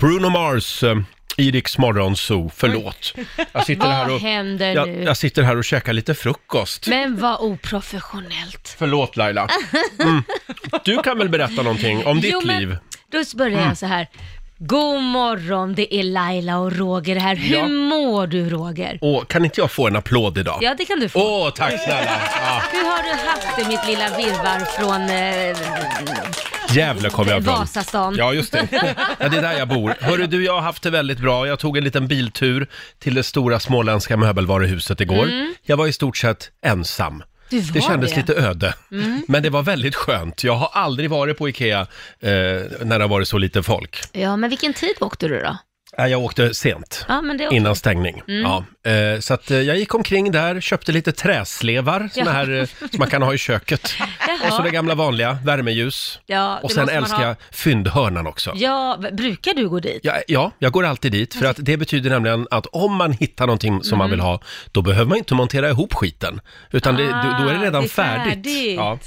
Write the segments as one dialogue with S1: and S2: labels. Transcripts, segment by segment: S1: Bruno Mars eh, i Rix Morgon Zoo. Förlåt. Jag sitter, här
S2: Vad
S1: och,
S2: händer
S1: jag,
S2: nu?
S1: jag sitter här och käkar lite frukost.
S2: Men vad oprofessionellt.
S1: Förlåt Laila. Mm. Du kan väl berätta någonting om ditt
S2: Jo, men-
S1: liv? Mm.
S2: Då börjar jag så här. God morgon, det är Laila och Roger här. Hur
S1: Ja.
S2: mår du Roger?
S1: Åh, kan inte jag få en applåd idag?
S2: Ja, det kan du få.
S1: Åh, tack snälla! Ja,
S2: Hur har du haft det mitt lilla virvar från eh,
S1: jävlar kom jag ifrån.
S2: Vasastan?
S1: Ja, just det. Ja, det är där jag bor. Hörru du, jag har haft det väldigt bra. Jag tog en liten biltur till det stora småländska möbelvaruhuset igår.
S2: Mm.
S1: Jag var i stort sett ensam.
S2: Du var
S1: Det kändes
S2: det.
S1: lite öde,
S2: Mm.
S1: men det var väldigt skönt. Jag har aldrig varit på Ikea eh, när det har varit så lite folk.
S2: Ja, men vilken tid åkte du då?
S1: Nej, Jag åkte sent.
S2: Ja, men det
S1: Innan stängning.
S2: Mm.
S1: Ja. Eh, så att eh, jag gick omkring där, köpte lite träslevar, såna
S2: Ja.
S1: här eh, som man kan ha i köket. Och så Alltså, det
S2: Jaha.
S1: gamla vanliga, värmeljus.
S2: Ja,
S1: Och
S2: det
S1: sen
S2: måste man
S1: älskar jag
S2: ha.
S1: fyndhörnan också.
S2: Ja, v- brukar du gå dit?
S1: Ja, ja, jag går alltid dit för att det betyder nämligen att om man hittar någonting som
S2: Mm.
S1: man vill ha, då behöver man inte montera ihop skiten. Utan det, då- då är det
S2: Ah,
S1: redan
S2: det är
S1: färdigt.
S2: färdigt.
S1: Ja.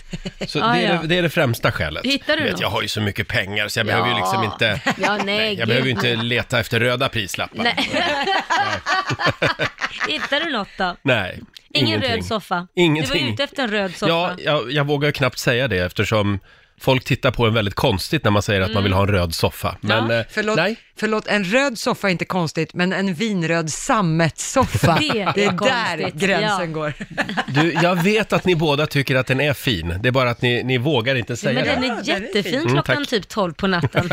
S1: Så
S2: Ah,
S1: det, är,
S2: ja.
S1: det- det är det främsta skälet.
S2: Hittar du
S1: Du vet,
S2: något?
S1: jag har ju så mycket pengar så jag behöver ju liksom inte,
S2: Ja, nej,
S1: jag
S2: gud.
S1: behöver ju inte leta efter röda prislappar. Nej,
S2: Hittar du något då? Ingen
S1: ingenting.
S2: röd soffa? Du var
S1: Ingenting.
S2: ju ute efter en röd soffa.
S1: Ja, jag, jag vågar ju knappt säga det eftersom folk tittar på en väldigt konstigt när man säger att man
S2: Mm.
S1: vill ha en röd soffa. Men eh,
S3: Förlåt,
S1: nej.
S3: förlåt, en röd soffa är inte konstigt, men en vinröd sammetssoffa,
S2: Det är
S3: där
S2: konstigt,
S3: gränsen
S2: ja.
S3: går.
S1: Du, jag vet att ni båda tycker att den är fin. Det är bara att ni, ni vågar inte säga
S2: Men den
S1: det.
S2: är jättefin
S1: Mm,
S2: klockan
S1: tack.
S2: typ 12 på natten.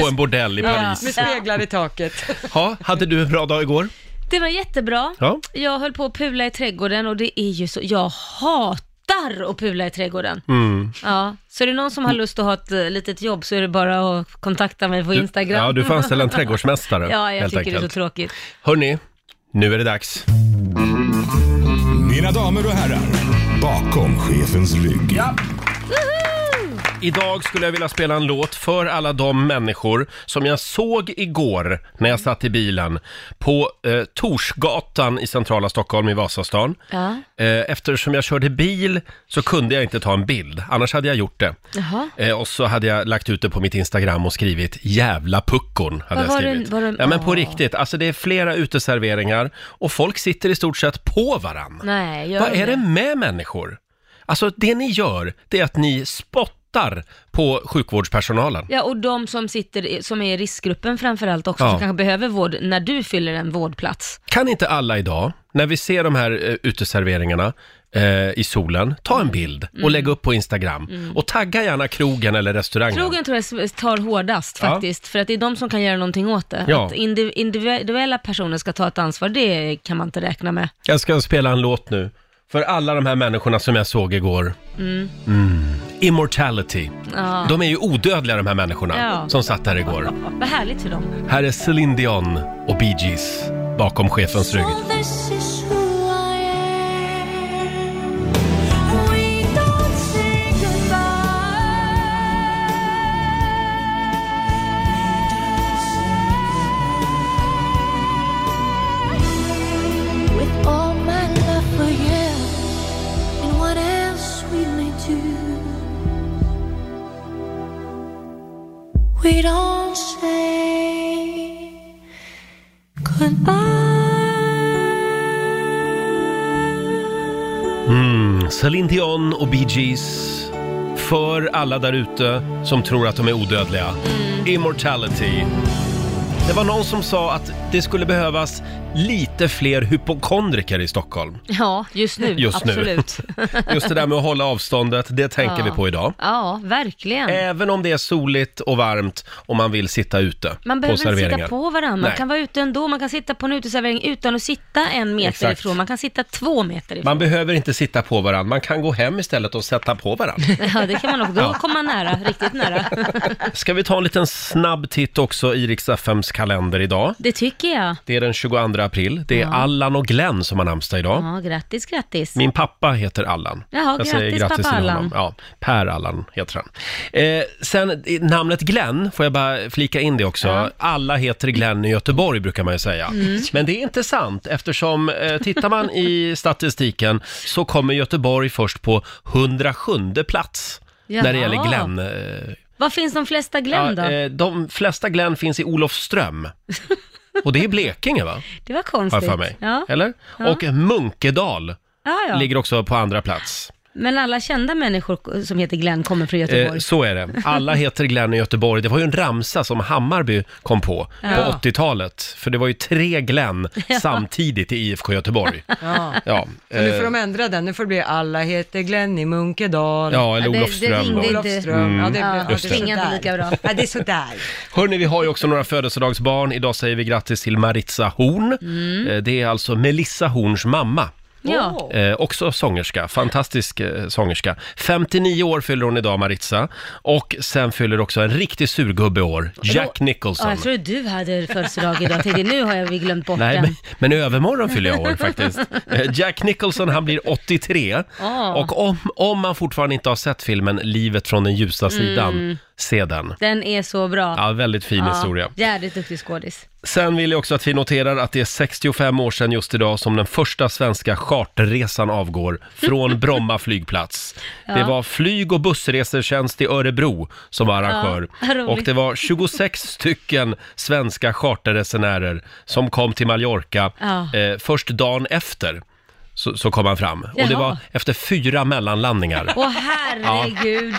S1: På en bordell i Paris.
S3: Med speglar i taket.
S1: Ja, hade du en bra dag igår?
S2: Det var jättebra.
S1: Ja.
S2: Jag höll på att pula i trädgården och det är ju så, jag hatar att pula i trädgården.
S1: Mm.
S2: Ja, så är det någon som har lust att ha ett eh, litet jobb så är det bara att kontakta mig på Instagram.
S1: Ja, Mm. du får anställa en trädgårdsmästare
S2: Ja, jag
S1: helt
S2: tycker det är
S1: enkelt.
S2: så tråkigt.
S1: Hörni, nu är det dags.
S4: Mina damer och herrar, bakom chefens rygg.
S1: Idag skulle jag vilja spela en låt för alla de människor som jag såg igår när jag satt i bilen på eh, Torsgatan i centrala Stockholm i Vasastan.
S2: Ja.
S1: Eh, eftersom jag körde bil så kunde jag inte ta en bild, annars hade jag gjort det.
S2: Jaha.
S1: Eh, och så hade jag lagt ut det på mitt Instagram och skrivit “Jävla puckon” hade
S2: Vad
S1: jag
S2: var det-
S1: skrivit.
S2: var det-
S1: ja men på
S2: Åh.
S1: riktigt, alltså det är flera uteserveringar och folk sitter i stort sett på varann.
S2: Nej, gör
S1: Vad är
S2: inte.
S1: det med människor? Alltså det ni gör, det är att ni spottar på sjukvårdspersonalen.
S2: Ja, och de som sitter, i- som är i riskgruppen framförallt också,
S1: Ja.
S2: som kanske behöver vård när du fyller en vårdplats.
S1: Kan inte alla idag, när vi ser de här eh, uteserveringarna eh, i solen, ta en bild
S2: Mm.
S1: och lägga upp på Instagram. Och tagga gärna krogen eller restaurangen.
S2: Krogen tror jag tar hårdast
S1: Ja.
S2: faktiskt, för att det är de som kan göra någonting åt det.
S1: Ja.
S2: Att indiv- individuella personer ska ta ett ansvar, det kan man inte räkna med.
S1: Jag ska spela en låt nu för alla de här människorna som jag såg igår. Mm. Immortality.
S2: Ja.
S1: De är ju odödliga de här människorna
S2: Ja.
S1: som satt där igår.
S2: Vad härligt för dem.
S1: Här är Celine Dion och Bee Gees bakom chefens rygg.
S5: With all my love for you, and what else we may do, we don't say goodbye.
S1: Mm. Celine Dion och Bee Gees för alla där ute som tror att de är odödliga.
S2: Mm.
S1: Immortality. Det var någon som sa att det skulle behövas lite fler hypokondriker i Stockholm.
S2: Ja, just nu.
S1: Just nu.
S2: absolut.
S1: Just det där med att hålla avståndet, det tänker
S2: Ja.
S1: vi på idag. Eh,
S2: Ja, verkligen.
S1: Även om det är soligt och varmt och man vill sitta ute
S2: Man
S1: på
S2: behöver inte
S1: serveringar.
S2: sitta på varandra, man
S1: Nej.
S2: kan vara ute ändå, man kan sitta på en uteservering utan att sitta en meter
S1: Exakt.
S2: ifrån, man kan sitta två meter ifrån.
S1: Man behöver inte sitta på varandra, man kan gå hem istället och sätta på varandra.
S2: Ja, det kan man också. Då kommer man nära, riktigt nära.
S1: Ska vi ta en liten snabb titt också i Rix FMs kalender idag?
S2: Det tycker jag.
S1: Det är den 22 april, det är Allan och Glenn som har namnsdag idag.
S2: Ja, grattis, grattis.
S1: Min pappa heter Allan.
S2: Jaha, grattis, pappa Allan.
S1: Ja, per Allan heter han. Eh, sen eh, namnet Glenn, får jag bara flika in det också. Alla heter Glenn i Göteborg brukar man ju säga.
S2: Mm.
S1: Men det är inte sant eftersom eh, tittar man i statistiken så kommer Göteborg först på 107 plats när det
S2: Jaha.
S1: gäller Glenn. Eh,
S2: Var finns de flesta Glenn då?
S1: Ja, eh, de flesta Glenn finns i Olofström. Och det är i Blekinge va?
S2: det var
S1: Har
S2: konstigt.
S1: jag för mig.
S2: Ja.
S1: Eller?
S2: Ja.
S1: Och Munkedal
S2: Ja, ja.
S1: ligger också på andra plats.
S2: Men alla kända människor som heter Glenn kommer från Göteborg.
S1: Eh, så är det. Alla heter Glenn i Göteborg. Det var ju en ramsa som Hammarby kom på
S2: Ja.
S1: på 80-talet. För det var ju tre Glenn samtidigt i IFK Göteborg.
S3: Ja.
S1: Ja,
S3: Så nu får
S1: eh,
S3: de ändra den, nu får det bli alla heter Glenn i Munkedal.
S1: ja Mm. eller
S2: Ja, det- det
S1: Olofström.
S2: ringde
S1: då.
S2: inte.
S3: Olofström. Ja, det,
S2: Ja,
S1: just
S3: det
S1: det.
S3: är
S2: Ringa inte
S3: sådär.
S2: lika bra.
S3: Ja, det är sådär.
S1: Hörni, vi har ju också några födelsedagsbarn. Idag säger vi grattis till Maritza Horn.
S2: Mm.
S1: Eh, Det är alltså Melissa Horns mamma.
S2: Ja.
S3: Åh.
S1: Eh, också sångerska, fantastisk eh, sångerska. 59 år fyller hon idag, Maritza. Och sen fyller också en riktig surgubbe i år, Jack
S2: Ja,
S1: Nicholson.
S2: jag trodde du hade födelsedag idag. Jag tänkte, nu har jag vi glömt bort
S1: Nej,
S2: den.
S1: men, men i övermorgon fyller jag år faktiskt. Eh, Jack Nicholson, han blir 83.
S2: Ja.
S1: Och om, om man fortfarande inte har sett filmen Livet från den ljusa sidan, se den.
S2: Den är så bra.
S1: Ja, väldigt fin historia.
S2: Jävligt duktig skådis.
S1: Sen vill jag också att vi noterar att det är 65 år sedan just idag som den första svenska charterresan avgår från Bromma flygplats. Det var flyg och bussresetjänst i Örebro som var arrangör.
S2: Ja, vad roligt.
S1: och det var 26 stycken svenska charterresenärer som kom till Mallorca
S2: Ja.
S1: eh, först dagen efter. Så, så kom han fram. Och det
S2: Jaha.
S1: var efter fyra mellanlandningar.
S2: Åh herregud.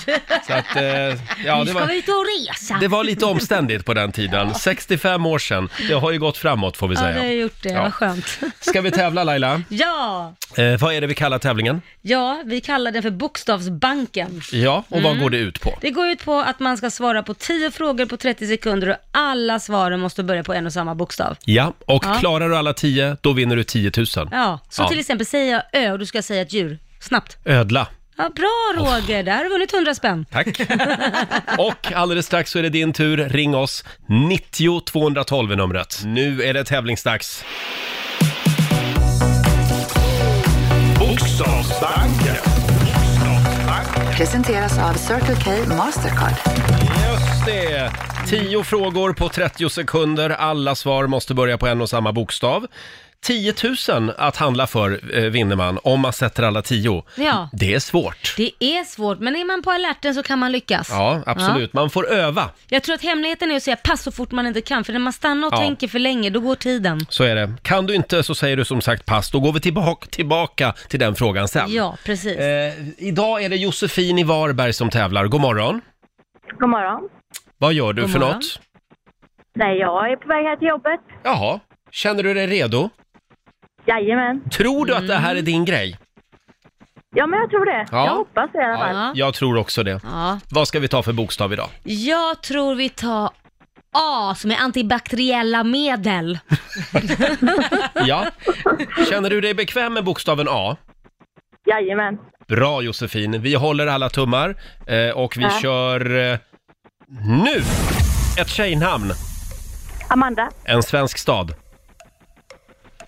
S1: Så att, eh, ja,
S2: Nu
S1: det
S2: ska
S1: var...
S2: vi ut och resa.
S1: Det var lite omständigt på den tiden. 65 år sedan. Det har ju gått framåt får vi
S2: Ja,
S1: säga.
S2: det har jag gjort det.
S1: Ja.
S2: Vad skönt.
S1: Ska vi tävla Laila?
S2: Ja.
S1: Eh, vad är det vi kallar tävlingen?
S2: ja, vi kallar den för Bokstavsbanken.
S1: Ja, och
S2: Mm.
S1: vad går det ut på?
S2: Det går ut på att man ska svara på 10 frågor på 30 sekunder och alla svaren måste börja på en och samma bokstav.
S1: Ja, och
S2: Ja.
S1: klarar du alla 10, då vinner du 10 000.
S2: Ja, så till exempel säger jag ö och du ska säga ett djur. Snabbt.
S1: Ödla.
S2: Ja, bra Roger, där har du vunnit 100 spänn.
S1: Tack. och alldeles strax så är det din tur. Ring oss. 90 212 är numret. Nu är det tävlingsdags.
S4: Bokstavsbanken.
S6: Presenteras av Circle K Mastercard.
S1: Just det! 10 frågor på 30 sekunder. Alla svar måste börja på en och samma bokstav. 10 000 att handla för eh, vinner man om man sätter alla 10.
S2: Ja.
S1: Det är svårt.
S2: Det är svårt, men är man på alerten så kan man lyckas.
S1: Ja, absolut. Man får öva.
S2: Jag tror att hemligheten är att säga pass så fort man inte kan, för när man stannar och
S1: Ja.
S2: tänker för länge, då går tiden.
S1: Så är det. Kan du inte så säger du som sagt pass. Då går vi tillbaka, tillbaka till den frågan sen.
S2: Ja, precis.
S1: Eh, idag är det Josefin i Varberg som tävlar. God morgon.
S7: God morgon.
S1: Vad gör du
S2: God
S1: för
S2: morgon.
S1: något?
S7: Nej, jag är på väg här till jobbet.
S1: Jaha, känner du dig redo?
S7: Jajamän.
S1: Tror du att det här är din grej?
S7: Ja, men jag tror det.
S1: Ja.
S7: Jag hoppas det i alla fall.
S2: Ja.
S1: Jag tror också det.
S2: Ja.
S1: Vad ska vi ta för bokstav idag?
S2: Jag tror vi tar A som är antibakteriella medel.
S1: Ja. Känner du dig bekväm med bokstaven A?
S7: Jajamän.
S1: Bra Josefin, vi håller alla tummar eh, och vi
S7: Ja.
S1: kör eh, nu! Ett tjejnamn,
S7: Amanda.
S1: en svensk stad,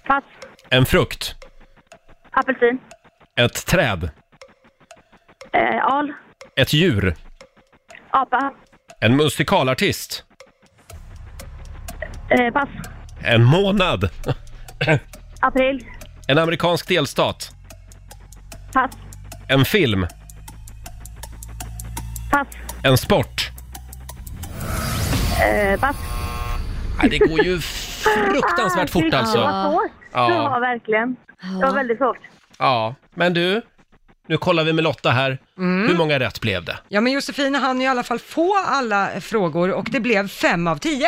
S7: Pass.
S1: en frukt,
S7: Apelsin.
S1: ett träd,
S7: Eh, al.
S1: ett djur,
S7: Apa.
S1: en musikalartist,
S7: Eh, pass.
S1: en månad,
S7: April.
S1: en amerikansk delstat,
S7: Pass.
S1: en film,
S7: Pass.
S1: en sport.
S7: Eh, pass.
S1: Nej, det går ju fruktansvärt fort
S7: Det
S1: alltså.
S7: var svårt.
S1: Ja.
S7: Ja, verkligen. Det var väldigt svårt.
S1: Ja, men du, nu kollar vi med Lotta här. Hur många rätt blev det?
S3: Ja, men Josefina hann ju i alla fall få alla frågor och det blev fem av tio.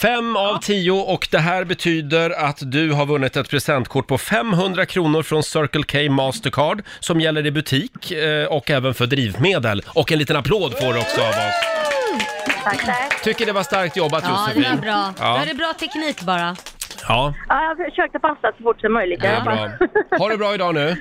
S1: Fem av tio och det här betyder att du har vunnit ett presentkort på 500 kronor från Circle K Mastercard som gäller i butik eh, och även för drivmedel. Och en liten applåd får du också av oss.
S7: Tack, tack.
S1: Tycker det var starkt jobbat
S2: Ja, det var
S1: Josefin.
S2: bra. Du
S1: Ja,
S2: hade bra teknik bara.
S1: ja
S7: Ja, jag försökte passa så fort som möjligt.
S1: det är
S7: Ja,
S1: bra. Ha det bra idag nu.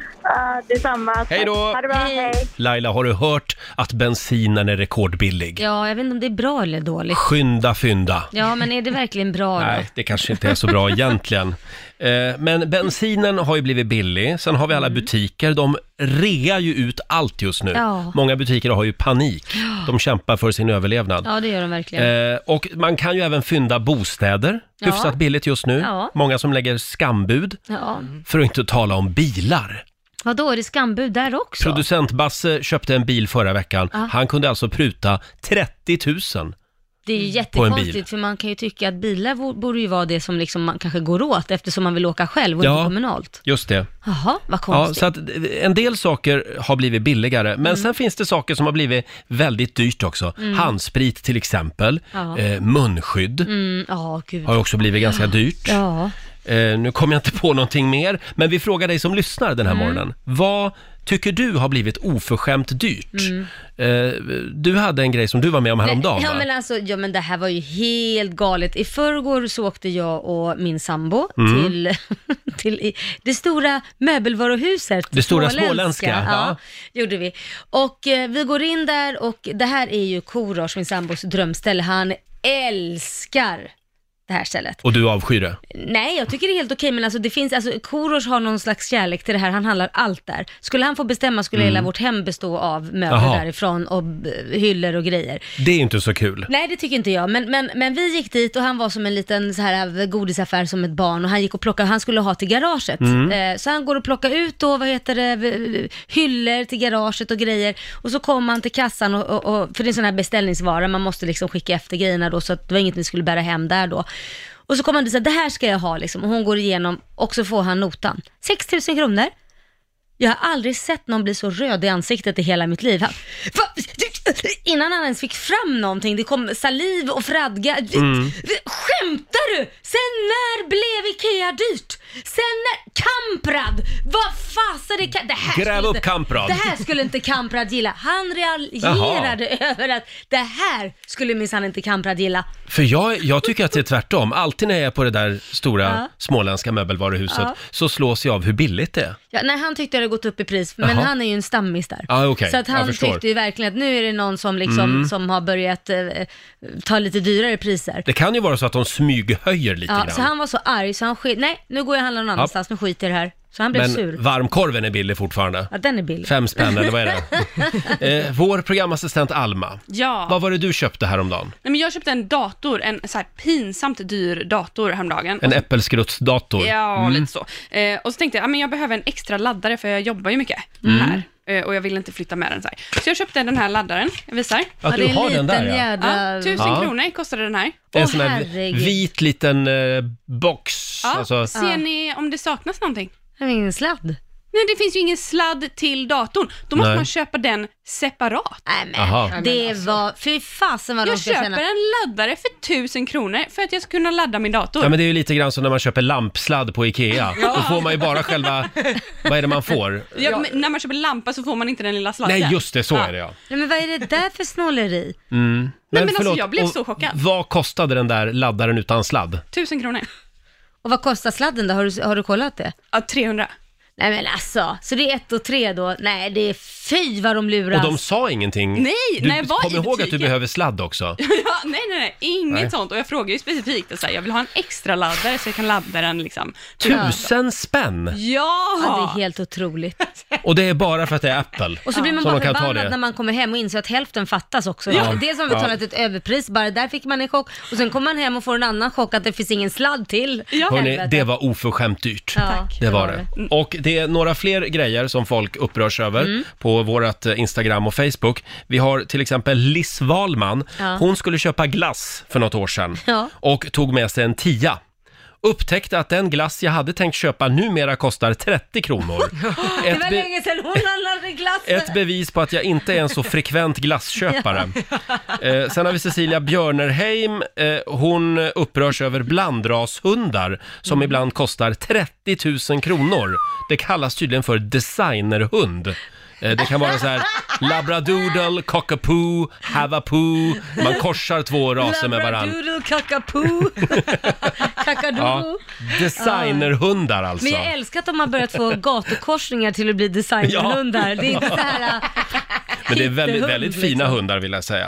S7: detsamma. Tack.
S1: Hej då.
S7: Ha det bra.
S2: Hej.
S7: Hej.
S1: Laila, har du hört att bensinen är rekordbillig?
S2: Ja, jag vet inte om det är bra eller dåligt.
S1: Skynda fynda.
S2: Ja, men är det verkligen bra då?
S1: Nej, det kanske inte är så bra egentligen. Eh, Men bensinen har ju blivit billig. Sen har vi alla
S2: Mm.
S1: butiker. De rear ju ut allt just nu.
S2: Ja.
S1: Många butiker har ju panik. De kämpar för sin överlevnad.
S2: Ja, det gör de verkligen.
S1: Eh, Och man kan ju även fynda bostäder.
S2: Ja.
S1: Hyfsat billigt just nu.
S2: Ja. Mm.
S1: Många som lägger skambud.
S2: Ja.
S1: För att inte tala om bilar.
S2: Vadå, är det skambud där också?
S1: Producent Basse köpte en bil förra veckan.
S2: Ja.
S1: Han kunde alltså pruta 30 000.
S2: det är ju
S1: Mm. bil.
S2: jättekonstigt för man kan ju tycka att bilar vo- borde ju vara det som liksom man kanske går åt eftersom man vill åka själv och
S1: Ja.
S2: inte kommunalt.
S1: Just det.
S2: Jaha, vad
S1: Ja,
S2: konstigt. Mm.
S1: så att eh, en del saker har blivit billigare, men sen finns det saker som har blivit väldigt dyrt också. Handsprit till exempel,
S2: Ja.
S1: eh, munskydd
S2: mm, ja, gud.
S1: har ju också blivit ganska dyrt.
S2: Ja.
S1: Eh, nu kommer jag inte på någonting mer, men vi frågar dig som lyssnar den här
S2: Mm.
S1: morgonen. Vad tycker du har blivit oförskämt dyrt? Eh, du hade en grej som du var med om häromdagen,
S2: Mm. Ja
S1: va?
S2: men alltså, ja men det här var ju helt galet. I förrgår så åkte jag och min sambo
S1: Mm.
S2: till, till i- det stora möbelvaruhuset.
S1: Det stora småländska, ja.
S2: gjorde vi. Och eh, vi går in där och det här är ju Korosh, min sambos drömställe. Han älskar det här stället.
S1: Och du avskyr det?
S2: Nej, jag tycker det är helt okej, men alltså det finns, alltså Korosh har någon slags kärlek till det här, han handlar allt där. Skulle han få bestämma skulle hela vårt hem bestå av möbler
S1: Jaha.
S2: därifrån och b- hyllor och grejer.
S1: Det är inte så kul.
S2: Nej, det tycker inte jag, men, men, men vi gick dit och han var som en liten så här godisaffär som ett barn och han gick och plockade, han skulle ha till garaget. Eh, Så han går och plockar ut då, vad heter det, v- hyllor till garaget och grejer. Och så kom han till kassan, och, och, och, för det är en sån här beställningsvara, man måste liksom skicka efter grejerna då, så att det var inget vi skulle bära hem där då. Och så kom han dit och sa, det här ska jag ha liksom. Och hon går igenom och så får han notan. 6 000 kronor. Jag har aldrig sett någon bli så röd i ansiktet i hela mitt liv. Han, Va? Innan han ens fick fram någonting, det kom saliv och fradga.
S1: Mm.
S2: Skämtar du? Sen när blev Ikea dyrt? Sen när... Kamprad! Vad fasen är Ka- det här
S1: Gräv
S2: skulle
S1: upp
S2: inte-
S1: Kamprad.
S2: Det här skulle inte Kamprad gilla. Han reagerade över att det här skulle minsann inte Kamprad gilla.
S1: För jag, jag tycker att det är tvärtom. Alltid när jag är på det där stora
S2: Ja.
S1: småländska möbelvaruhuset
S2: Ja.
S1: så slås jag av hur billigt det är.
S2: Ja, nej, han tyckte det hade gått upp i pris, men
S1: Jaha.
S2: han är ju en stammis där.
S1: Ja, okej.
S2: Så att
S1: Jag
S2: han
S1: förstår. Mm.
S2: tyckte ju verkligen att nu är det någon som, liksom, som har börjat eh, ta lite dyrare priser.
S1: Det kan ju vara så att de smyghöjer lite
S2: Ja,
S1: grann.
S2: så han var så arg så han skit, nej nu går jag och handlar någon annanstans, nu skiter jag i det här. Så han blev sur.
S1: Men varmkorven är billig fortfarande.
S2: Ja, den är billig.
S1: Fem spänn eller vad är det? eh, vår programassistent Alma,
S8: Ja.
S1: vad var det du köpte häromdagen?
S8: Nej, men jag köpte en dator, en så här pinsamt dyr dator häromdagen.
S1: En Mm. äppelskrutsdator.
S8: Ja, lite så. Eh, och så tänkte jag, ja, men jag behöver en extra laddare för jag jobbar ju mycket
S1: Mm.
S8: här. Eh, och jag vill inte flytta med den så här. Så jag köpte den här laddaren, jag visar.
S1: Att du
S2: det är en
S1: har den
S2: liten
S1: där ja.
S2: jädra...
S8: Ja, typ. tusen
S1: Ja.
S8: kronor kostade den här.
S1: En
S2: Åh,
S1: sån här
S2: herregud.
S1: vit liten eh, box.
S8: Ja,
S1: Alltså,
S8: Ser ni om det saknas någonting?
S2: Det var ingen sladd.
S8: Nej, det finns ju ingen sladd till datorn. Då måste
S1: Nej.
S8: man köpa den separat.
S2: Nej men,
S1: Aha.
S2: det var, fy fasen vad de
S8: alltså. Jag
S2: ska
S8: köper
S2: tjäna.
S8: en laddare för tusen kronor för att jag ska kunna ladda min dator.
S1: ja, men det är ju lite grann som när man köper lampsladd på Ikea. Då får man ju bara själva... Vad är det man får?
S8: Ja, men när man köper lampa så får man inte den lilla sladden.
S1: Nej, just det, så
S8: Ja.
S1: är det ja.
S2: Nej, men vad är det där för snåleri?
S8: Nej, men alltså, jag blev
S1: och
S8: så chockad.
S1: Vad kostade den där laddaren utan sladd?
S8: Tusen kronor.
S2: Och vad kostar sladden då? Har du, har du kollat det?
S8: Ja, 300.
S2: Nej men alltså, så det är ett och tre då? Nej det är fy vad de luras.
S1: Och de sa ingenting.
S8: Nej,
S1: du,
S8: när jag var
S1: Kom
S8: i
S1: ihåg att du
S8: butiken.
S1: behöver sladd också.
S8: Ja, nej, nej, nej, inget
S1: Nej.
S8: sånt. Och jag frågar ju specifikt, så här, jag vill ha en extra laddare så jag kan ladda den liksom.
S1: Tusen spänn!
S8: Ja!
S2: Ja, det är helt otroligt.
S1: Och det är bara för att det är Apple.
S2: Och så blir man
S1: Så
S2: bara
S1: de kan ta det.
S2: förbannad när man kommer hem och inser att hälften fattas också.
S1: Ja.
S2: Dels har man betalat ett överpris, bara där fick man en chock. Och sen kommer man hem och får en annan chock att det finns ingen sladd till.
S8: Ja.
S1: Hörrni,
S2: Helvete.
S1: det var oförskämt dyrt.
S2: Ja, Tack.
S1: Det var det. Och det är några fler grejer som folk upprörs över
S2: Mm.
S1: på vårt eh, Instagram och Facebook. Vi har till exempel Liss Wahlman.
S2: Ja.
S1: Hon skulle köpa glass för något år sedan
S2: Ja.
S1: och tog med sig en tia. Upptäckte att den glass jag hade tänkt köpa numera kostar 30 kronor.
S2: Det
S1: Ett
S2: var
S1: be-
S2: länge sedan hon handlade glass.
S1: Ett bevis på att jag inte är en så frekvent glassköpare. Eh, sen har vi Cecilia Björnerheim. Eh, hon upprörs över blandrashundar som
S2: Mm.
S1: ibland kostar 30 000 kronor. Det kallas tydligen för designerhund. Eh, det kan vara så här labradoodle, cockapoo, havapoo. Man korsar två raser med varandra.
S2: Labradoodle, kakapoo, kakadoo.
S1: Ja, designerhundar alltså.
S2: Men jag älskar att de har börjat få gatukorsningar till att bli designhundar. Det är inte så här... äh,
S1: Men det är väldigt,
S2: Jättehund,
S1: väldigt
S2: liksom. Mm.
S1: fina hundar vill jag säga.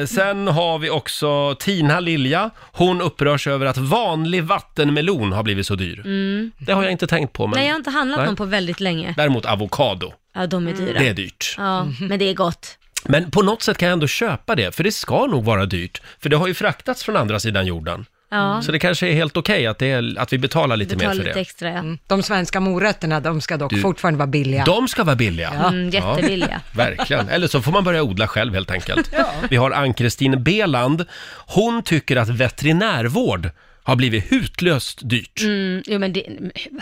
S1: Eh, sen har vi också Tina Lilja. Hon upprörs över att vanlig vattenmelon har blivit så dyr. Det har jag inte tänkt på. Men
S2: Mm. Nej, jag har inte handlat
S1: Nej.
S2: någon på väldigt länge.
S1: Däremot avokado,
S2: Ja, de är dyra.
S1: det är dyrt.
S2: Ja, men det är gott.
S1: Men på något sätt kan jag ändå köpa det, för det ska nog vara dyrt. För det har ju fraktats från andra sidan jorden.
S2: Ja,
S1: Så det kanske är helt okej att, det är, att vi betalar lite
S2: betala
S1: mer för
S2: lite
S1: det.
S2: extra ja. Mm,
S3: De svenska morötterna, de ska dock
S1: Du-
S3: fortfarande vara billiga.
S1: De ska vara billiga.
S2: Mm, jättevilliga.
S1: Verkligen. Eller så får man börja odla själv helt enkelt. Vi har Ann-Kristin Beland. Hon tycker att veterinärvård har blivit hutlöst dyrt.
S2: Mm, jo men det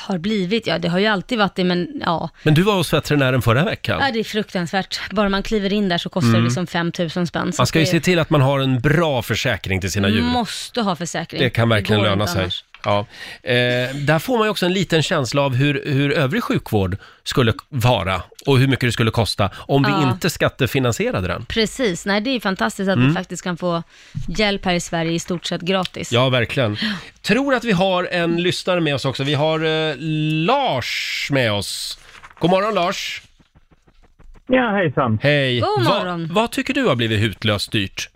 S2: har blivit, ja det har ju alltid varit det men ja.
S1: Men du var hos veterinären förra veckan.
S2: ja det är fruktansvärt. Bara man kliver in där så kostar det liksom 5000 spänn. Så
S1: Mm. Man ska ju
S2: det
S1: se till att man har en bra försäkring till sina djur.
S2: Måste ha försäkring.
S1: Det kan verkligen
S2: går
S1: löna
S2: inte
S1: sig.
S2: annars.
S1: Ja. Eh, där får man ju också en liten känsla av hur, hur övrig sjukvård skulle vara och hur mycket det skulle kosta om vi
S2: Ja.
S1: inte skattefinansierade den.
S2: Precis, nej det är fantastiskt att
S1: Mm.
S2: vi faktiskt kan få hjälp här i Sverige i stort sett gratis.
S1: Ja, verkligen. Tror att vi har en lyssnare med oss också. Vi har eh, Lars med oss. God morgon Lars!
S9: Ja, hejsan.
S1: Hej!
S2: God
S1: Va-
S2: morgon.
S1: vad tycker du har blivit hutlöst dyrt?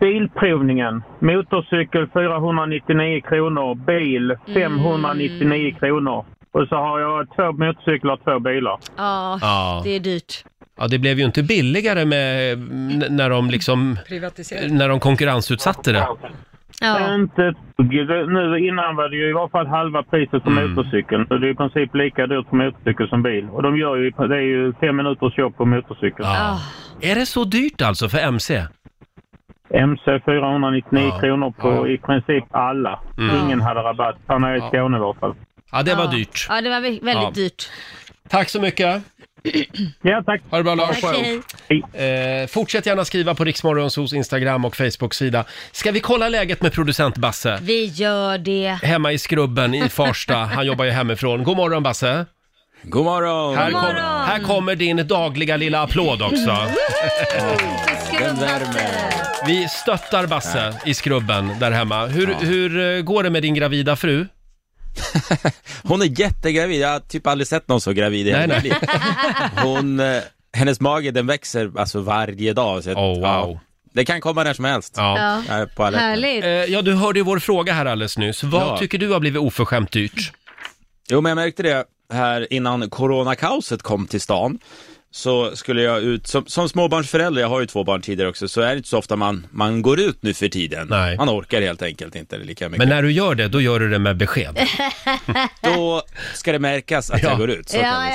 S9: Bilprovningen. Motorcykel 499 kronor. Bil 599 kronor. Och så har jag två motorcyklar och två bilar.
S2: Ja,
S1: Ja.
S2: det är dyrt.
S1: Ja, det blev ju inte billigare med, n- när de liksom,
S3: Privatiserade.
S1: när de konkurrensutsatte det.
S2: Ja.
S1: Mm,
S9: Inte ett dugg. Det- Nu innan var det ju i varje fall halva priset för motorcykeln. Så det är i princip lika dyrt för motorcykel som bil. Och de gör ju, det är ju fem minuters jobb på motorcykel.
S2: Ah.
S1: Ja. Är det så dyrt alltså för MC?
S9: MC 499
S1: Ja.
S9: kronor på
S1: Ja.
S9: i princip alla. Ingen hade rabatt. Här nere i Skåne i varje fall.
S1: Ja, det var
S2: ja.
S1: dyrt.
S2: Ja, det var vä- väldigt
S1: Ja.
S2: dyrt.
S1: Tack så mycket.
S9: Ja, tack.
S1: Ha det bra Lars.
S2: Tack, hej.
S1: Eh, fortsätt gärna skriva på Riksmorgonsos Instagram och Facebook-sida. Ska vi kolla läget med producent Basse?
S2: Vi gör det.
S1: Hemma i skrubben i Farsta. Han jobbar ju hemifrån. God morgon Basse.
S10: God morgon!
S1: Här,
S2: morgon.
S1: kom, här kommer din dagliga lilla applåd också.
S10: Den värmer.
S1: Vi stöttar Basse i skrubben där hemma. Hur, hur eh, går det med din gravida fru?
S10: Hon är jättegravid, jag har typ aldrig sett någon så gravid i hela
S1: Nej,
S10: mitt liv. Hon, eh, hennes mage den växer alltså varje dag. Så att-
S1: Oh, wow.
S10: ja, det kan komma när som helst.
S1: Ja.
S2: Ja.
S10: Jag är på alerten.
S2: Härligt.
S1: Eh, ja, du hörde ju vår fråga här alldeles nyss. Vad
S10: Ja. Mm.
S1: tycker du har blivit oförskämt dyrt?
S10: Jo, men jag märkte det här innan coronakaoset kom till stan. Så skulle jag ut, som, som småbarnsförälder, jag har ju två barn tidigare också, så är det inte så ofta man, man går ut nu för tiden.
S1: Nej.
S10: Man orkar helt enkelt inte lika mycket.
S1: Men när du gör det, då gör du det med besked.
S10: Då ska det märkas att
S1: Ja.
S10: jag går ut. Så
S2: Ja,
S10: kan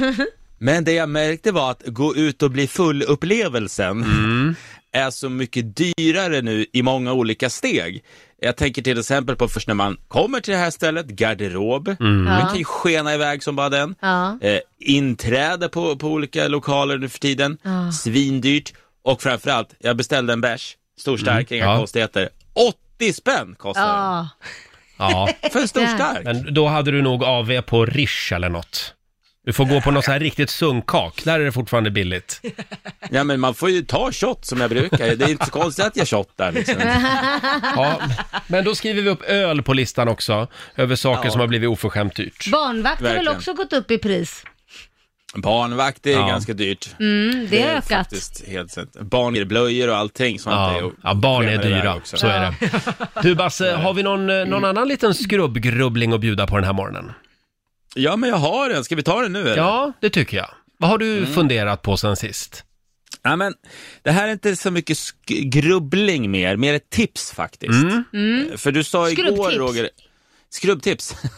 S10: vi säga. Men det jag märkte var att gå ut och bli full-upplevelsen
S1: Mm.
S10: är så mycket dyrare nu i många olika steg. Jag tänker till exempel på först när man kommer till det här stället, garderob,
S1: Mm.
S10: den kan ju skena iväg som bara den.
S2: Ja.
S10: Eh, inträde på, på olika lokaler nu för tiden, svindyrt och framförallt, jag beställde en bärs, stor stark, inga
S1: Mm. Ja.
S10: konstigheter, 80 spänn kostar
S2: Ja.
S1: Ja.
S10: den för en stor
S2: Ja.
S10: stark.
S1: Men då hade du nog AV på Rish eller något. Du får gå på något så här riktigt sunkak. Där är det fortfarande billigt.
S10: Ja men man får ju ta shot som jag brukar, det är inte så konstigt att jag shottar liksom.
S1: Ja. Men då skriver vi upp öl på listan också, över saker
S10: Ja.
S1: som har blivit oförskämt dyrt.
S2: Barnvakt har väl
S10: Verkligen.
S2: också gått upp i pris?
S10: Barnvakt det är
S1: Ja.
S10: ganska dyrt.
S2: Mm, det har
S10: är
S2: ökat.
S10: faktiskt helt sant. Barn i blöjor och allting sånt. är
S1: Ja.
S10: ju-
S1: ja, barn är
S10: skenar iväg
S1: dyra,
S10: också.
S1: så är det. Du Basse, har vi någon, eh, någon annan liten skrubbgrubbling att bjuda på den här morgonen?
S10: Ja men jag har den, ska vi ta den nu eller? Mm.
S1: Ja, det tycker jag. Vad har du funderat på sen sist?
S10: Ja, men det här är inte så mycket sk- grubbling mer, mer ett tips faktiskt. Eh, För du sa igår
S2: Skrubbtips.
S10: Roger... Skrubbtips.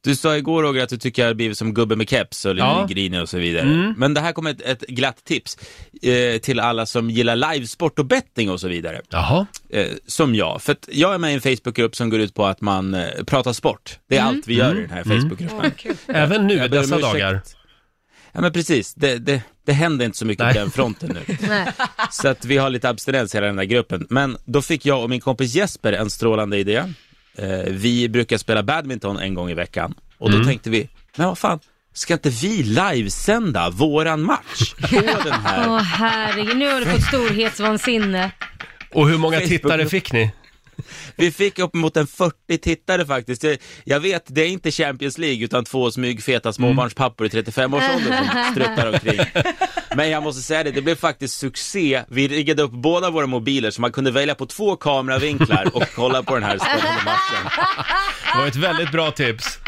S10: Du sa igår Roger att du tycker jag har blivit som gubbe med keps och lite
S1: Ja.
S10: grinig och så vidare. Men det här kommer ett, ett glatt tips eh, till alla som gillar livesport och betting och så vidare.
S1: Jaha,
S10: eh, som jag. För att jag är med i en Facebookgrupp som går ut på att man eh, pratar sport. Det är allt vi gör i den här Facebookgruppen.
S1: även nu
S10: Jag ber om
S1: dessa
S10: ursäkt.
S1: dagar.
S10: Ja men precis, det, det, det händer inte så mycket
S1: Nej.
S10: på den fronten nu.
S2: Nej.
S10: Så att vi har lite abstinens i hela den där gruppen. Men då fick jag och min kompis Jesper en strålande idé. Eh, vi brukar spela badminton en gång i veckan. Och
S1: Mm.
S10: då tänkte vi, men vad fan, ska inte vi livesända våran match på den här
S2: Åh Ah, herregud, nu har du fått storhetsvansinne.
S1: Och hur många
S10: Facebook-
S1: tittare fick ni?
S10: Vi fick uppemot en 40 tittare faktiskt. Jag, jag vet, det är inte Champions League utan två smygfeta småbarnspappor i 35-årsåldern som struttar omkring. Men jag måste säga det, det blev faktiskt succé. Vi riggade upp båda våra mobiler så man kunde välja på två kameravinklar och kolla på den här spännande matchen.
S1: Det var ett väldigt bra tips.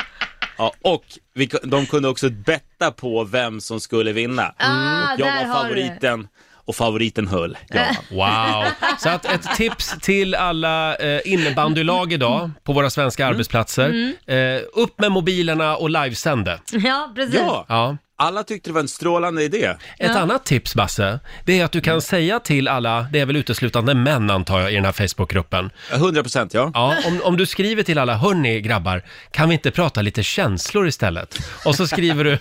S10: Ja, och vi, ku- de kunde också betta på vem som skulle vinna.
S2: Ah,
S10: Jag
S2: där
S10: var
S2: har du.
S10: favoriten och favoriten höll. Ja.
S1: Wow! Så att ett tips till alla eh, innebandylag idag på våra svenska arbetsplatser. Eh, upp med mobilerna och livesände.
S2: Ja, precis.
S10: Ja.
S1: Ja.
S10: Alla tyckte det var en strålande idé.
S1: Ett annat tips, Basse, det är att du kan säga till alla, det är väl uteslutande män antar jag i den här Facebookgruppen.
S10: 100 procent ja.
S1: Ja, om, om du skriver till alla, hörni grabbar, kan vi inte prata lite känslor istället? Och så skriver du,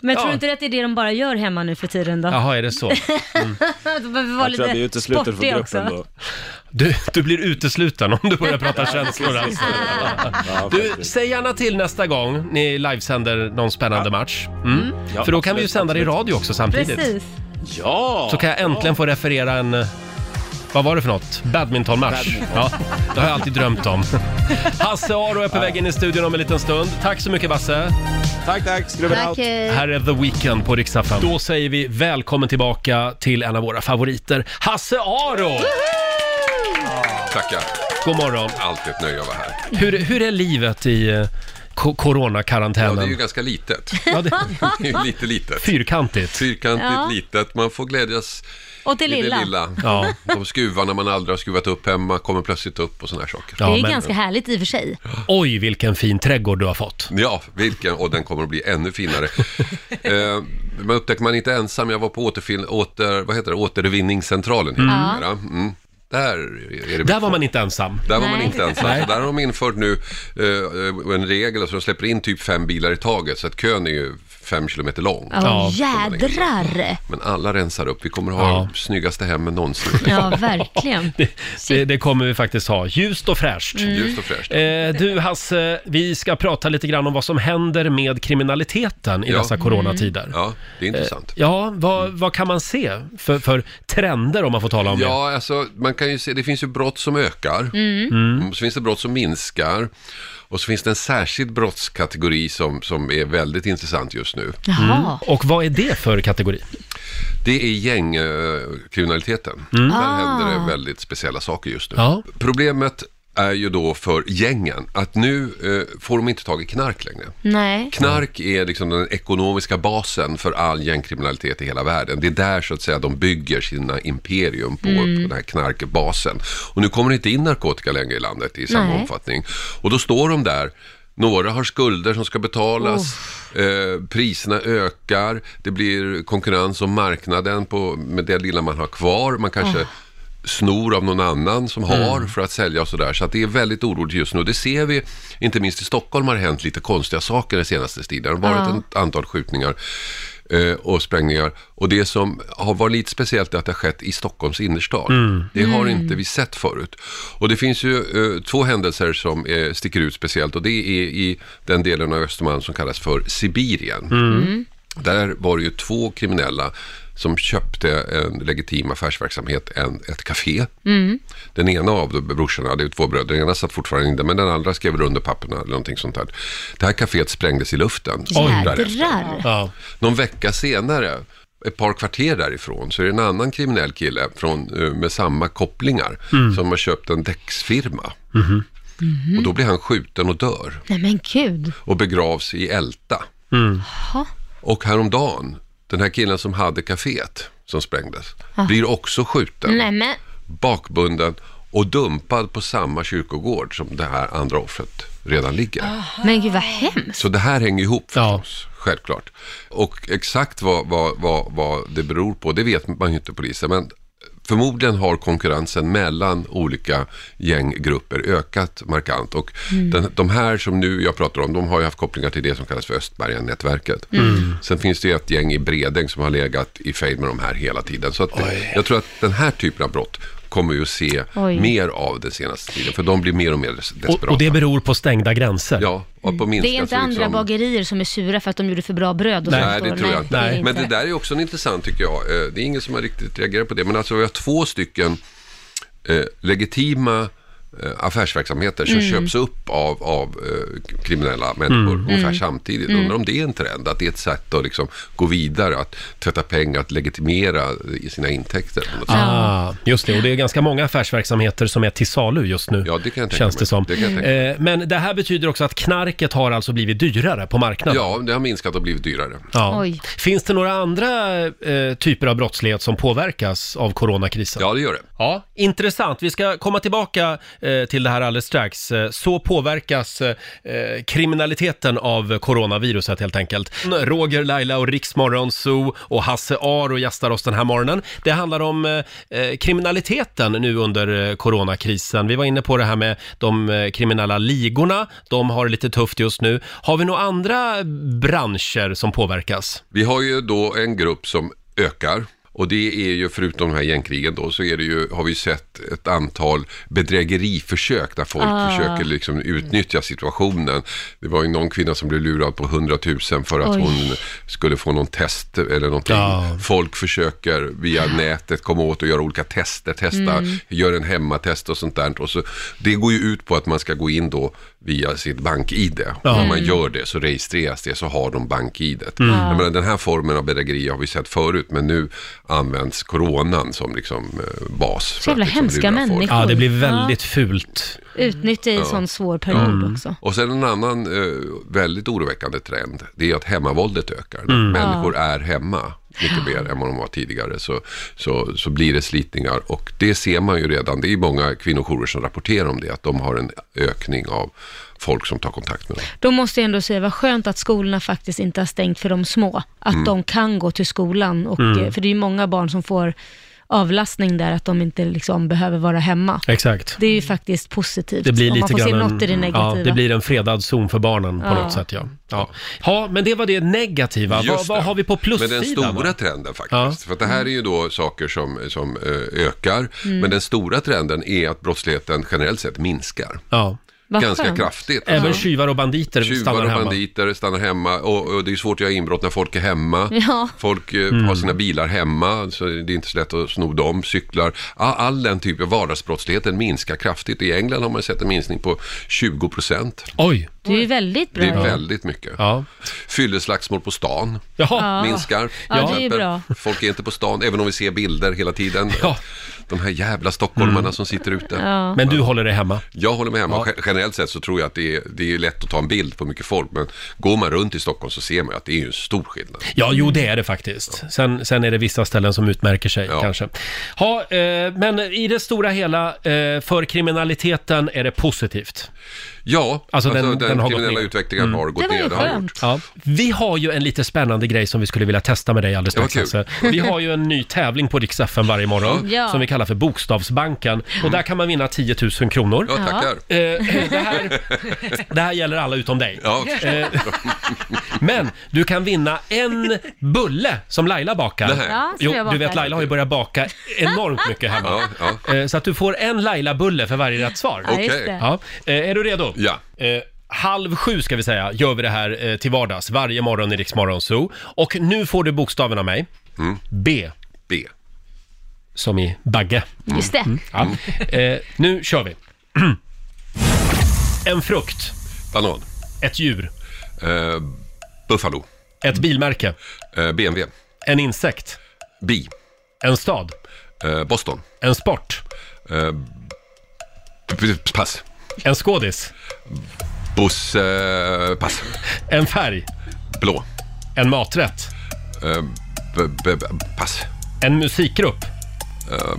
S2: Men tror
S1: Ja.
S2: du inte att det är det de bara gör hemma nu för tiden då?
S1: jaha är det så?
S2: Då behöver vi vara
S10: Jag tror jag blir
S2: lite
S10: utesluten från
S2: sportiga
S10: gruppen
S2: också.
S10: då.
S1: Du, du blir utesluten om du börjar prata känslor alltså.
S10: Ja,
S1: Du,
S10: faktiskt.
S1: säg gärna till nästa gång ni livesänder någon spännande match. Mm.
S10: Ja,
S1: För då kan vi ju
S10: absolut,
S1: sända det i
S10: absolut.
S1: radio också samtidigt.
S2: Precis.
S10: Ja!
S1: Så kan jag äntligen få referera en, eh, vad var det för något? Badmintonmatch.
S10: Badminton.
S1: Ja, det har jag alltid drömt om. Hasse Aro är på väg in i studion om en liten stund. Tack så mycket Basse.
S10: Tack, tack. Skruven
S2: Tack,
S10: out.
S2: hej.
S1: Här är The Weeknd på Rix FM. Då säger vi välkommen tillbaka till en av våra favoriter, Hasse Aro!
S11: Tackar.
S1: God morgon.
S11: Alltid ett nöje att vara här.
S1: Hur, hur är livet i eh,
S11: Ja, det är
S1: ko-
S11: ju
S1: coronakarantänen?
S11: ganska litet.
S1: Ja, det
S11: Det är ju lite litet.
S1: Fyrkantigt.
S11: Fyrkantigt,
S2: Ja.
S11: litet. Man får glädjas
S2: Och till
S11: i Typ det
S2: lilla.
S11: lilla.
S1: Ja.
S11: De skruvarna man aldrig har skruvat upp hemma kommer plötsligt upp och sådana här saker.
S1: Ja,
S11: Ja.
S2: det är ju
S1: men-
S2: ganska härligt i och för sig.
S1: Oj, vilken fin trädgård du har fått.
S11: vilken, och den kommer att bli ännu finare. eh, man upptäcker man är inte ensam, jag var på återfin, åter, vad heter det? återvinningscentralen. heter det numera. Mm. Där är det
S1: Där var man inte ensam.
S11: Där var man
S2: Nej.
S11: inte ensam. Så där har de infört nu eh, en regel så de släpper in typ fem bilar i taget så att kön är ju fem kilometer lång.
S1: Ja.
S2: Ja, jädrar.
S11: Men alla rensar upp. Vi kommer ha
S1: Ja.
S11: de snyggaste hemmen någonsin.
S2: Ja, verkligen.
S11: Mm.
S1: Det, det, det kommer vi faktiskt ha. Ljust och fräscht.
S2: Mm.
S11: Ljust och fräscht.
S1: Eh, du Hasse, vi ska prata lite grann om vad som händer med kriminaliteten i
S11: Ja.
S1: dessa coronatider. Ja,
S11: Ja, det är
S1: Eh,
S11: intressant.
S1: vad, vad kan man se för, för trender om man får tala om det?
S11: Ja, alltså man kan ju se, det finns ju brott som ökar. Mm. Så finns det brott som minskar. Och så finns det en särskild brottskategori som, som är väldigt intressant just nu.
S2: Jaha.
S1: Och vad är det för kategori?
S11: Det är gängkriminaliteten. Där händer
S2: Ah.
S11: det väldigt speciella saker just nu.
S1: Ja.
S11: Problemet är ju då för gängen att nu eh, får de inte tag i knark längre.
S2: Nej.
S11: Knark är liksom den ekonomiska basen för all gängkriminalitet i hela världen. Det är där så att säga de bygger sina imperium på,
S2: Mm.
S11: på den här knarkbasen. Och nu kommer det inte in narkotika längre i landet i samma
S2: Nej.
S11: omfattning. Och då står de där. Några har skulder som ska betalas, eh, priserna ökar, det blir konkurrens om marknaden på, med det lilla man har kvar. Man kanske snor av någon annan som har för att sälja och sådär. Så att det är väldigt oroligt just nu. Det ser vi, inte minst i Stockholm har det hänt lite konstiga saker den senaste tiden. Det har varit ett antal skjutningar eh, och sprängningar. Och det som har varit lite speciellt är att det har skett i Stockholms innerstad. Det har inte vi sett förut. Och det finns ju eh, två händelser som eh, sticker ut speciellt och det är i den delen av Östermalm som kallas för Sibirien. Där var det ju två kriminella som köpte en legitim affärsverksamhet, en, ett café. Den ena av de- brorsorna, det är ju två bröder, den ena satt fortfarande inne, men den andra skrev väl under papperna eller någonting sånt där. Det här caféet sprängdes i luften. Därefter.
S2: Jädrar.
S1: Ja.
S11: Någon vecka senare, ett par kvarter därifrån, så är det en annan kriminell kille från, eh, med samma kopplingar som har köpt en däcksfirma. Och då blir han skjuten och dör
S2: Nej men gud.
S11: och begravs i Älta.
S2: Jaha.
S11: Och häromdagen, den här killen som hade kaféet som sprängdes, blir också skjuten,
S2: Ah. Nej men.
S11: bakbunden och dumpad på samma kyrkogård som det här andra offret redan
S2: Ah.
S11: ligger.
S2: Men gud vad hemskt.
S11: Så det här hänger ihop
S1: Ja.
S11: förstås, självklart. Och exakt vad, vad, vad, vad det beror på, det vet man ju inte polisen, men förmodligen har konkurrensen mellan olika gänggrupper ökat markant. Och den, de här som nu jag pratar om, de har ju haft kopplingar till det som kallas för Östberga-nätverket. Sen finns det ju ett gäng i Bredäng som har legat i fejd med de här hela tiden. Så att jag tror att den här typen av brott kommer vi att se
S2: Oj.
S11: mer av den senaste tiden, för de blir mer och mer des-
S1: Och,
S11: desperata.
S1: och det beror på stängda gränser.
S11: Ja, och på minsta,
S2: Mm. Det är inte
S11: så
S2: andra
S11: liksom-
S2: bagerier som är sura för att de gjorde för bra bröd och
S1: Nej,
S11: Nej,
S2: sånt då.
S11: det tror jag inte.
S2: är
S1: Nej.
S11: Men det där är också en intressant tycker jag. Eh, Det är ingen som har riktigt reagerat på det. Men alltså vi har två stycken eh, legitima eh, affärsverksamheter som
S12: Mm.
S11: köps upp av, av eh, kriminella människor
S12: Mm.
S11: ungefär
S12: Mm.
S11: samtidigt.
S12: Mm.
S11: Undrar om det är en trend, att det är ett sätt att liksom gå vidare, att tvätta pengar, att legitimera i sina intäkter. på något sätt.
S1: Ah, just det, och det är ganska många affärsverksamheter som är till salu just nu. Ja,
S11: det kan jag tänka
S1: Känns det
S11: mig.
S1: som.
S11: Det kan jag tänka mig.
S1: Eh, Men det här betyder också att knarket har alltså blivit dyrare på marknaden.
S11: Ja, det har minskat och blivit dyrare.
S1: Ja. Finns det några andra eh, typer av brottslighet som påverkas av coronakrisen?
S11: Ja, det gör det.
S1: Ja, intressant. Vi ska komma tillbaka eh, till det här alldeles strax. Eh, Så påverkas eh, eh, kriminaliteten av coronaviruset helt enkelt.
S2: Mm.
S1: Roger, Laila och Riksmorgon Zoo och Hasse Aro gästar oss den här morgonen. Det handlar om eh, eh, kriminaliteten nu under eh, coronakrisen. Vi var inne på det här med de eh, kriminella ligorna. De har det lite tufft just nu. Har vi några andra branscher som påverkas?
S11: Vi har ju då eh, en grupp som ökar. Och det är ju, förutom de här gängkrigen då, så är det ju, har vi ju sett ett antal bedrägeriförsök där folk
S12: Ah.
S11: försöker liksom utnyttja situationen. Det var ju någon kvinna som blev lurad på 100 000
S2: Ah,
S11: för att
S12: Oj.
S11: hon skulle få någon test eller någonting.
S12: Ja.
S11: Folk försöker via nätet komma åt och göra olika tester, testa,
S12: Mm.
S11: gör en hemmatest och sånt där. Och så, det går ju ut på att man ska gå in då via sitt bank-id.
S12: Ja.
S11: När man
S12: Mm.
S11: gör det så registreras det så har de bank-id.
S12: Mm.
S11: Jag menar, den här formen av bedrägeri har vi sett förut, men nu används coronan som liksom eh, bas. för
S2: Så jävla
S11: att liksom
S2: hemska
S11: lura folk.
S2: människor. Ja, det blir väldigt
S1: fult.
S2: Utnyttja i en
S11: Ja.
S2: sån svår period
S1: Mm.
S2: också.
S11: Och sen en annan eh, väldigt oroväckande trend, det är att hemmavåldet ökar. När
S2: Mm.
S11: Människor är hemma mycket mer än vad de var tidigare, så, så, så blir det slitningar. Och det ser man ju redan, det är många kvinnojourer som rapporterar om det, att de har en ökning av folk som tar kontakt med dem.
S2: Då måste jag ändå säga, vad skönt att skolorna faktiskt inte har stängt för de små. Att
S11: Mm.
S2: de kan gå till skolan, och,
S11: Mm.
S2: eh, för det är ju många barn som får avlastning där, att de inte liksom behöver vara hemma.
S1: Exakt.
S2: Det är ju faktiskt positivt.
S1: Det blir
S2: om
S1: lite
S2: man får se
S1: grann en-
S2: något i det negativa.
S1: Ja, det blir en fredad zon för barnen på
S2: Ja.
S1: något sätt, ja. ja. Ja, men det var det negativa. Vad,
S11: Just
S1: vad
S11: det.
S1: har vi på plussidan?
S11: Men den stora
S1: va?
S11: trenden faktiskt.
S1: Ja.
S11: För att det här är ju då saker som, som eh, ökar.
S1: Mm.
S11: Men den stora trenden är att brottsligheten generellt sett minskar.
S1: Ja.
S11: Vad Ganska skönt. kraftigt.
S1: Även
S11: Ja.
S1: tjuvar och banditer stannar
S11: Tjuvar och
S1: hemma.
S11: banditer stannar hemma och, och det är svårt att göra inbrott när folk är hemma.
S2: Ja.
S11: Folk eh, har sina bilar hemma så det är inte så lätt att sno dem. Cyklar. All, all den typen av vardagsbrottsligheten minskar kraftigt. I England har man sett en minskning på 20 procent.
S1: Oj!
S2: Det är ju väldigt bra.
S11: Det är
S2: ju.
S11: väldigt mycket. Fylleslagsmål på stan
S2: Jaha.
S11: minskar.
S2: Ja, det är ju
S11: Till exempel.
S2: bra.
S11: Folk är inte på stan, även om vi ser bilder hela tiden. De här jävla stockholmarna
S1: Mm.
S11: som sitter ute.
S2: Ja.
S1: Men du håller dig hemma?
S11: Jag håller med hemma. Ge- Generellt sett så tror jag att det är, det är lätt att ta en bild på mycket folk, men går man runt i Stockholm så ser man ju att det är ju en stor skillnad.
S1: Ja, jo det är det faktiskt. Sen, sen är det vissa ställen som utmärker sig kanske. Ja, eh, men i det stora hela, eh, för kriminaliteten är det positivt.
S11: Ja,
S1: Alltså, den,
S11: alltså
S1: den,
S11: den
S1: har gått
S11: kriminella
S1: ner. Mm.
S11: utvecklingen har gått Det var ner, ju det har den skönt.
S1: Ja. Vi har ju en lite spännande grej som vi skulle vilja testa med dig alldeles
S11: Det var
S1: strax.
S11: kul.
S1: Hasse. Vi har ju en ny tävling på Rix FM varje morgon
S12: Ja.
S1: som vi kallar för Bokstavsbanken. Och där kan man vinna 10 000 kronor.
S12: Ja, tackar.
S1: Eh, det, här, det här gäller alla utom dig.
S12: Ja, förstås.
S1: Eh, Men du kan vinna en bulle som Laila bakar.
S12: Nähä. Ja, som
S1: jo,
S12: jag
S1: du
S12: bakar.
S1: vet Laila har ju börjat baka enormt mycket hemma. Eh, Så att du får en Laila-bulle för varje rätt svar.
S12: Ja, just det.
S1: Ja. Eh, Är du redo? Eh,
S11: Ja.
S1: Halv sju ska vi säga, gör vi det här eh, till vardags varje morgon i Rix Morgon Zoo. Och nu får du bokstaven av mig. B.
S11: Mm. B.
S1: Som i bagge.
S11: Mm.
S2: Just det.
S1: Ja. Eh, Nu kör vi. En frukt.
S11: Banan.
S1: Ett djur.
S11: Eh, Buffalo.
S1: Ett bilmärke.
S11: BMW.
S1: En insekt.
S11: Bi.
S1: En stad.
S11: Eh, Boston.
S1: En sport.
S11: Eh, p- p- pass.
S1: En skådis.
S11: Buss. Eh, pass.
S1: En färg.
S11: Blå.
S1: En maträtt.
S11: Eh, b- b- b- pass.
S1: En musikgrupp.
S11: Eh,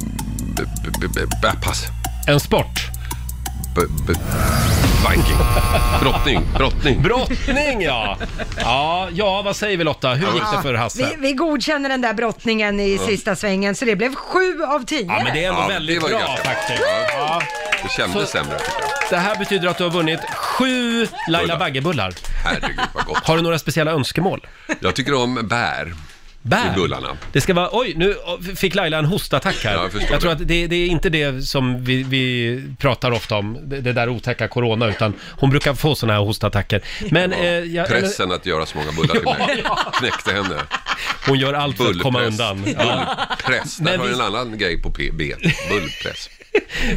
S11: b- b- b- b- Ah, pass.
S1: En sport.
S11: B- b- Viking. Brottning. Brottning.
S1: Brottning ja! Ja, ja vad säger vi Lotta? Hur gick det för Hasse?
S3: Vi, vi godkänner den där brottningen i
S1: Alltså. Ja.
S3: sista svängen, så det blev sju av tio.
S1: Ja, men det är ändå
S11: Ja, det
S1: väldigt
S11: var ju
S1: bra
S11: ganska bra.
S1: faktiskt. Ja.
S11: Ja. Det kändes sämre.
S1: Det här betyder att du har vunnit sju Laila
S11: Bullar.
S1: Baggebullar.
S11: Herregud vad gott.
S1: Har du några speciella önskemål?
S11: Jag tycker om bär.
S1: Bär?
S11: I bullarna.
S1: Det ska vara, oj, nu fick Laila en hostattack här.
S11: Ja, jag förstår
S1: tror att det, det är inte det som vi, vi pratar ofta om, det, det där otäcka corona, utan hon brukar få sådana här hostattacker. Men eh, jag,
S11: Pressen att göra så många bullar till
S1: Ja,
S11: mig knäckte henne.
S1: Hon gör allt för att komma undan. Ja.
S11: Bullpress. Där
S1: Men
S11: har
S1: vi-
S11: vi... en annan grej på P- B. Bullpress.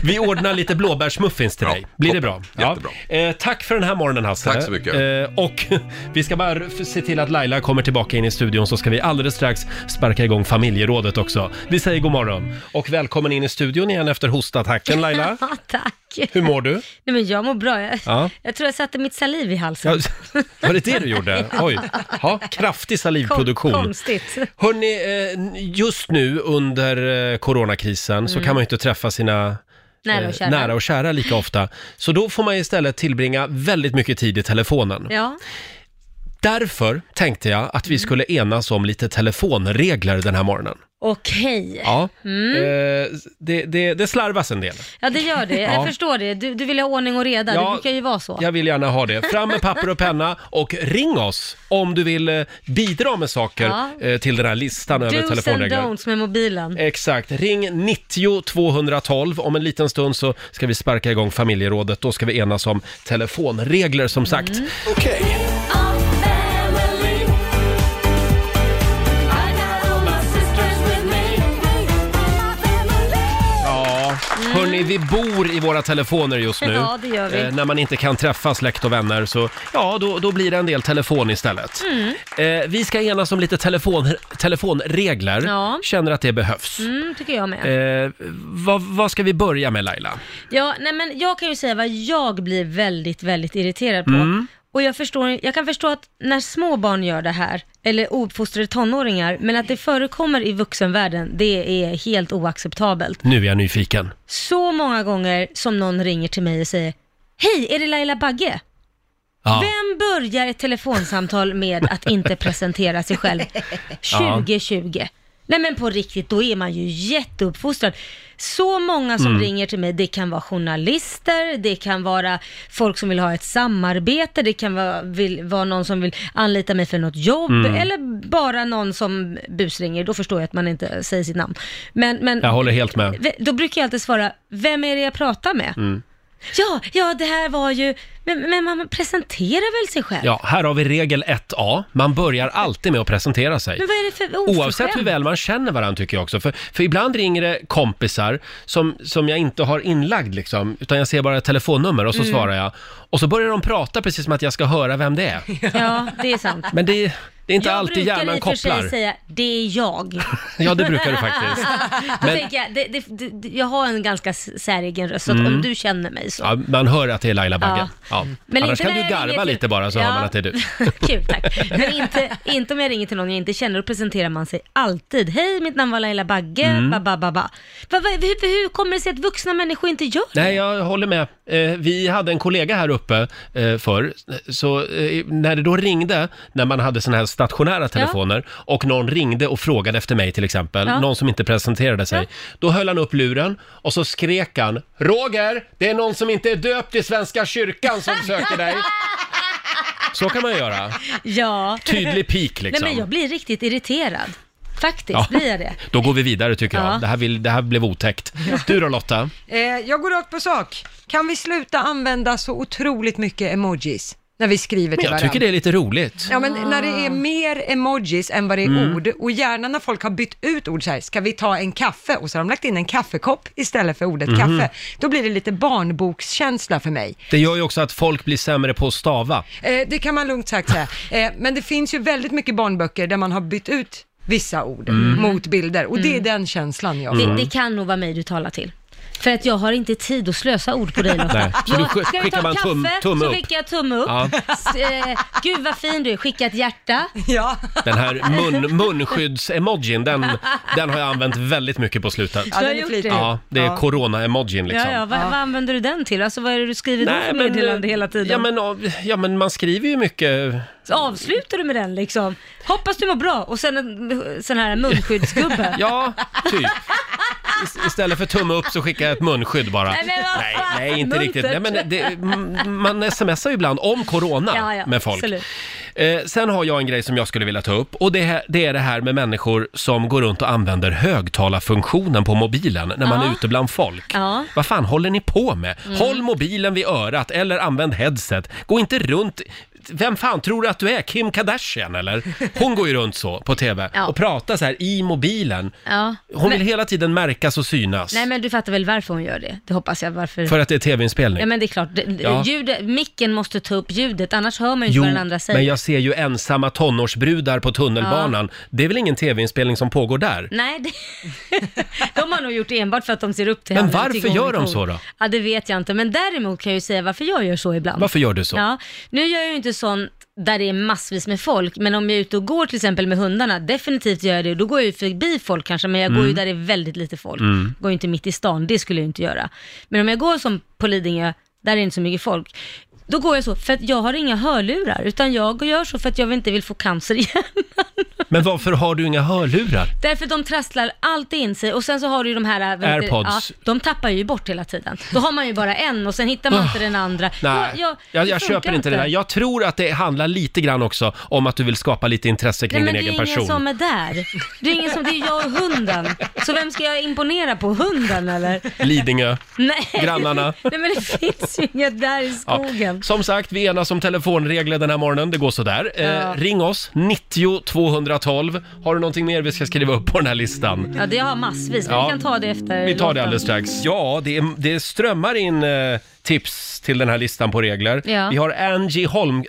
S1: Vi ordnar lite blåbärsmuffins till dig. Blir det bra?
S11: Jättebra.
S1: Eh, tack för den här morgonen Hasse.
S11: Tack så mycket.
S1: Eh, och vi ska bara f- se till att Laila kommer tillbaka in i studion så ska vi alldeles strax sparka igång familjerådet också. Vi säger god morgon och välkommen in i studion igen efter hostattacken Laila.
S2: Ja, tack.
S1: Hur mår du?
S2: Nej men jag mår bra. Jag,
S1: Ja.
S2: jag tror jag satte mitt saliv i halsen.
S1: Ja, var det det du gjorde? Oj. Ja, kraftig
S2: Kon-
S1: salivproduktion.
S2: Konstigt.
S1: Hörni, just nu under eh, coronakrisen så
S2: Mm.
S1: kan man ju inte träffa sina
S2: Nära
S1: eh,
S2: och kära.
S1: nära och kära lika ofta. Så då får man istället tillbringa väldigt mycket tid i telefonen.
S2: Ja.
S1: Därför tänkte jag att vi skulle enas om lite telefonregler den här morgonen.
S2: Okej.
S1: Ja,
S2: Mm.
S1: eh, det, det, det slarvas en del.
S2: Ja, det gör det. Jag
S1: Ja.
S2: förstår det. Du, du vill ha ordning och reda.
S1: Ja,
S2: det brukar ju vara så.
S1: Jag vill gärna ha det. Fram med papper och penna och ring oss om du vill eh, bidra med saker
S2: Ja.
S1: eh, till den här listan över Eh.
S2: Do's and
S1: telefonregler.
S2: don'ts med mobilen.
S1: Exakt. Ring 90 212. Om en liten stund så ska vi sparka igång familjerådet. Då ska vi enas om telefonregler som sagt.
S5: Okej.
S1: Ja, hörni, vi bor i våra telefoner just nu.
S2: Mm.
S1: Eh,
S2: Ja, det gör vi.
S1: när man inte kan träffa släkt och vänner så, ja, då, då blir det en del telefon istället.
S2: Mm.
S1: Eh, vi ska enas om lite telefon, telefonregler.
S2: Ja.
S1: Känner att det behövs.
S2: Mm, tycker jag med.
S1: Eh, vad, vad ska vi börja med Laila?
S2: Ja, nej men jag kan ju säga vad jag blir väldigt, väldigt irriterad på.
S1: Mm.
S2: Och jag, förstår, jag kan förstå att när små barn gör det här, eller ouppfostrade tonåringar, men att det förekommer i vuxenvärlden, det är helt oacceptabelt.
S1: Nu är jag nyfiken.
S2: Så många gånger som någon ringer till mig och säger Hej, är det Laila Bagge?
S1: Ja.
S2: Vem börjar ett telefonsamtal med att inte presentera sig själv?
S5: Ja.
S2: 2020. Nej men på riktigt, då är man ju jätteuppfostrad. Så många som
S5: Mm.
S2: ringer till mig, det kan vara journalister, det kan vara folk som vill ha ett samarbete, det kan vara, vill, vara någon som vill anlita mig för något jobb,
S1: Mm.
S2: eller bara någon som busringer, då förstår jag att man inte säger sitt namn. Men, men
S1: Jag håller helt med.
S2: V- Då brukar jag alltid svara, vem är det jag pratar med?
S1: Mm.
S2: Ja, ja det här var ju, men, men man presenterar väl sig själv?
S1: Ja, här har vi regel 1A. Man börjar alltid med att presentera sig.
S2: Men vad är det för oförskämt?
S1: Oavsett hur väl man känner varandra tycker jag också. För, för ibland ringer det kompisar som, som jag inte har inlagd liksom, utan jag ser bara ett telefonnummer och så
S2: Mm.
S1: svarar jag. Och så börjar de prata precis som att jag ska höra vem det är.
S2: Ja, det är sant.
S1: Men det, det är inte alltid hjärnan
S2: Jag brukar i och för
S1: kopplar.
S2: sig säga, det är jag.
S1: Ja, det brukar du faktiskt.
S2: Då
S1: Men-
S2: tänker jag, det, det, det, jag har en ganska s- säregen röst, så att
S1: Mm.
S2: om du känner mig så.
S1: Ja, man hör att det är Laila Bagge. Ja.
S2: Men
S1: Annars
S2: inte
S1: kan
S2: när
S1: du
S2: jag ringer
S1: garva
S2: till-
S1: lite bara så hör
S2: Ja.
S1: man att det är du.
S2: Kul, tack. Men inte, inte om jag ringer till någon jag inte känner, då presenterar man sig alltid. Hej, mitt namn var Laila Bagge,
S1: Mm.
S2: ba, ba, ba, ba. Va, va, hur, hur kommer det sig att vuxna människor inte gör det?
S1: Nej, jag håller med. Eh, vi hade en kollega här uppe eh, förr, så eh, när det då ringde, när man hade såna här stationära telefoner, och någon ringde och frågade efter mig till exempel,
S5: Ja.
S1: någon som inte presenterade sig, då höll han upp luren och så skrek han “Roger, det är någon som inte är döpt i Svenska kyrkan som söker dig!” Så kan man ju göra.
S2: Ja.
S1: Tydlig pik, liksom.
S2: Nej, men jag blir riktigt irriterad. Faktiskt
S1: Ja.
S2: blir jag det.
S1: Då går vi vidare tycker
S3: Ja.
S1: jag. Det här, vill, det här blev otäckt. Du då Lotta?
S3: Eh, jag går rakt på sak. Kan vi sluta använda så otroligt mycket emojis när vi skriver
S1: Men
S3: till
S1: jag
S3: varandra?
S1: tycker det är lite roligt.
S3: Ja, men när det är mer emojis än vad det är
S1: Mm.
S3: ord och gärna när folk har bytt ut ord så här, ska vi ta en kaffe? Och så har de lagt in en kaffekopp istället för ordet
S1: Mhm.
S3: kaffe. Då blir det lite barnbokskänsla för mig.
S1: Det gör ju också att folk blir sämre på att stava.
S3: Eh, det kan man lugnt sagt säga. Eh, men det finns ju väldigt mycket barnböcker där man har bytt ut vissa ord
S2: Mm.
S3: mot bilder och det är
S2: Mm.
S3: den känslan jag
S1: Mm.
S2: Det, det kan nog vara mig du talar till. För att jag har inte tid att slösa ord på dig Lotta.
S1: Nej, så
S2: Jag-
S1: du sk-
S2: Ska vi ta
S1: skickar
S2: en
S1: man
S2: kaffe?
S1: tum- tumme
S2: så
S1: upp.
S2: skickar jag tumme upp.
S1: Ja.
S2: S- eh, gud vad fin du är, skicka ett hjärta.
S3: Ja.
S1: Den här mun, munskydds-emojin, den, den har jag använt väldigt mycket på slutet.
S2: Ja, den är Du har gjort flitig. det?
S1: Ja, det är
S2: Ja.
S1: corona-emojin liksom.
S2: Ja, ja, vad, vad använder du den till? Alltså vad är det du skriver då
S1: Nej,
S2: för
S1: men,
S2: meddelande
S1: eh,
S2: hela tiden?
S1: Ja men, av- ja, men man skriver ju mycket...
S2: Så avslutar du med den liksom? Hoppas du mår bra och sen en sån här munskyddsgubbe.
S1: Ja, typ. Ist- Istället för tumme upp så skickar jag ett munskydd bara.
S2: Nej, men vad
S1: nej,
S2: fan,
S1: nej, inte
S2: muntert.
S1: riktigt. Nej, men det, m- man smsar ju ibland om corona
S2: Ja, ja,
S1: med folk.
S2: absolut.
S1: Eh, sen har jag en grej som jag skulle vilja ta upp och det, här, det är det här med människor som går runt och använder högtalarfunktionen på mobilen när man
S2: Ja.
S1: är ute bland folk.
S2: Ja.
S1: Vad fan håller ni på med?
S2: Mm.
S1: Håll mobilen vid örat eller använd headset. Gå inte runt Inte, vem fan tror du att du är? Kim Kardashian eller? Hon går ju runt så på TV
S2: Ja.
S1: och pratar så här i mobilen.
S2: Ja.
S1: Hon
S2: men,
S1: vill hela tiden märkas och synas.
S2: Nej men du fattar väl varför hon gör det? Det hoppas jag. Varför?
S1: För att det är tv-inspelning.
S2: Ja men det är klart, Det- det-
S1: Ja.
S2: ljudet, micken måste ta upp ljudet annars hör man ju inte
S1: Jo,
S2: vad den andra säger.
S1: men jag ser ju ensamma tonårsbrudar på tunnelbanan. Det är väl ingen tv-inspelning som pågår där?
S2: Nej, det... de har nog gjort det enbart för att de ser upp till
S1: Men
S2: henne. och
S1: varför
S2: tycker hon
S1: gör
S2: är
S1: de
S2: cool.
S1: så då?
S2: Ja, det vet jag inte. Men däremot kan jag ju säga varför jag gör så ibland.
S1: Varför gör du så?
S2: Ja, nu gör jag ju inte sånt där det är massvis med folk, men om jag är ute och går till exempel med hundarna, definitivt gör jag det. Då går jag ju förbi folk kanske, men jag går
S12: Mm.
S2: ju där det är väldigt lite folk.
S12: Mm.
S2: Går ju inte mitt i stan, det skulle jag ju inte göra. Men om jag går som på Lidingö, där är det inte så mycket folk, då går jag så för att jag har inga hörlurar, utan jag gör så för att jag inte vill få cancer igen.
S1: Men varför har du inga hörlurar?
S2: Därför de trasslar alltid in sig och sen så har du ju de här... vad heter det?
S1: Airpods.
S2: Ja, de tappar ju bort hela tiden. Då har man ju bara en och sen hittar man inte den andra.
S1: Ah. Nej,
S2: Ja, ja,
S1: jag,
S2: det
S1: jag
S2: funkar
S1: köper inte det där. Jag tror att det handlar lite grann också om att du vill skapa lite intresse
S2: Nej
S1: kring
S2: men det
S1: din
S2: är
S1: egen
S2: ingen
S1: person.
S2: som är där. Det är ingen som, det är jag och hunden. Så vem ska jag imponera på? Hunden eller?
S1: Lidingö.
S2: Nej.
S1: Grannarna.
S2: Nej men det finns ju inget där i
S1: Ja.
S2: skogen.
S1: Som sagt, vi enas om telefonregler den här morgonen. Det går sådär. Eh,
S2: Ja.
S1: Ring oss, 90 212. Har du någonting mer vi ska skriva upp på den här listan?
S2: Ja, det har jag massvis, men
S1: Ja.
S2: vi kan ta det efter
S1: Vi tar det
S2: låten.
S1: alldeles strax. Ja, det, är- det strömmar in eh, tips till den här listan på regler.
S2: Ja.
S1: Vi har Angie, Holm,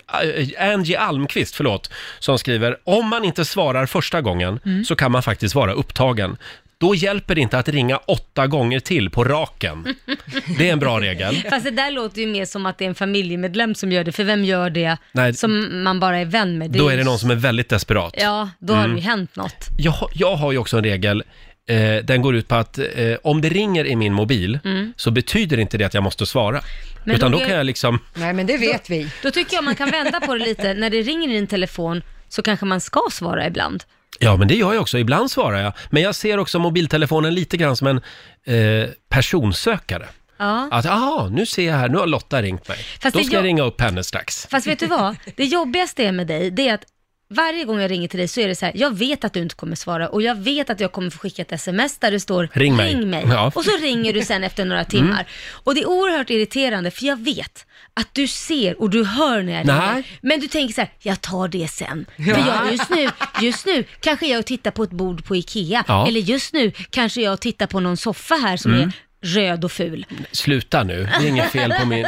S1: äh, Angie Almqvist förlåt, som skriver om man inte svarar första gången så kan man faktiskt vara upptagen. Då hjälper det inte att ringa åtta gånger till på raken. Det är en bra regel.
S2: Fast det där låter ju mer som att det är en familjemedlem som gör det, för vem gör det
S1: Nej.
S2: som man bara är vän med?
S1: Då
S2: ju-
S1: är det någon som är väldigt desperat.
S2: Ja, då har
S1: Mm.
S2: det ju hänt något.
S1: Jag, har- jag har ju också en regel. Eh, den går ut på att eh, om det ringer i min mobil
S2: Mm.
S1: så betyder inte det att jag måste svara.
S2: Men
S1: Utan
S2: då
S1: då
S2: är-
S1: kan jag liksom...
S2: Nej, men det vet då, vi. Då tycker jag man kan vända på det lite. När det ringer i din telefon så kanske man ska svara ibland.
S1: Ja, men det gör jag också. Ibland svarar jag. Men jag ser också mobiltelefonen lite grann som en eh, personsökare.
S2: Ja.
S1: Att, aha, nu ser jag här, nu har Lotta ringt mig.
S2: Fast
S1: Då
S2: det
S1: ska
S2: jag-
S1: jag ringa upp henne strax.
S2: Fast vet du vad? Det jobbigaste är med dig, det är att varje gång jag ringer till dig så är det så här, jag vet att du inte kommer svara och jag vet att jag kommer få skicka ett sms där det står
S12: Ring mig. Ja.
S2: Och så ringer du sen efter några timmar.
S12: Mm.
S2: Och det är oerhört irriterande för jag vet att du ser och du hör när jag
S12: Nej.
S2: ringer. Men du tänker så här, jag tar det sen. För jag, just, nu, just nu kanske jag tittar på ett bord på Ikea.
S1: Ja.
S2: Eller just nu kanske jag tittar på någon soffa här som
S1: Mm.
S2: är röd och ful.
S1: Sluta nu, det är inget fel på min...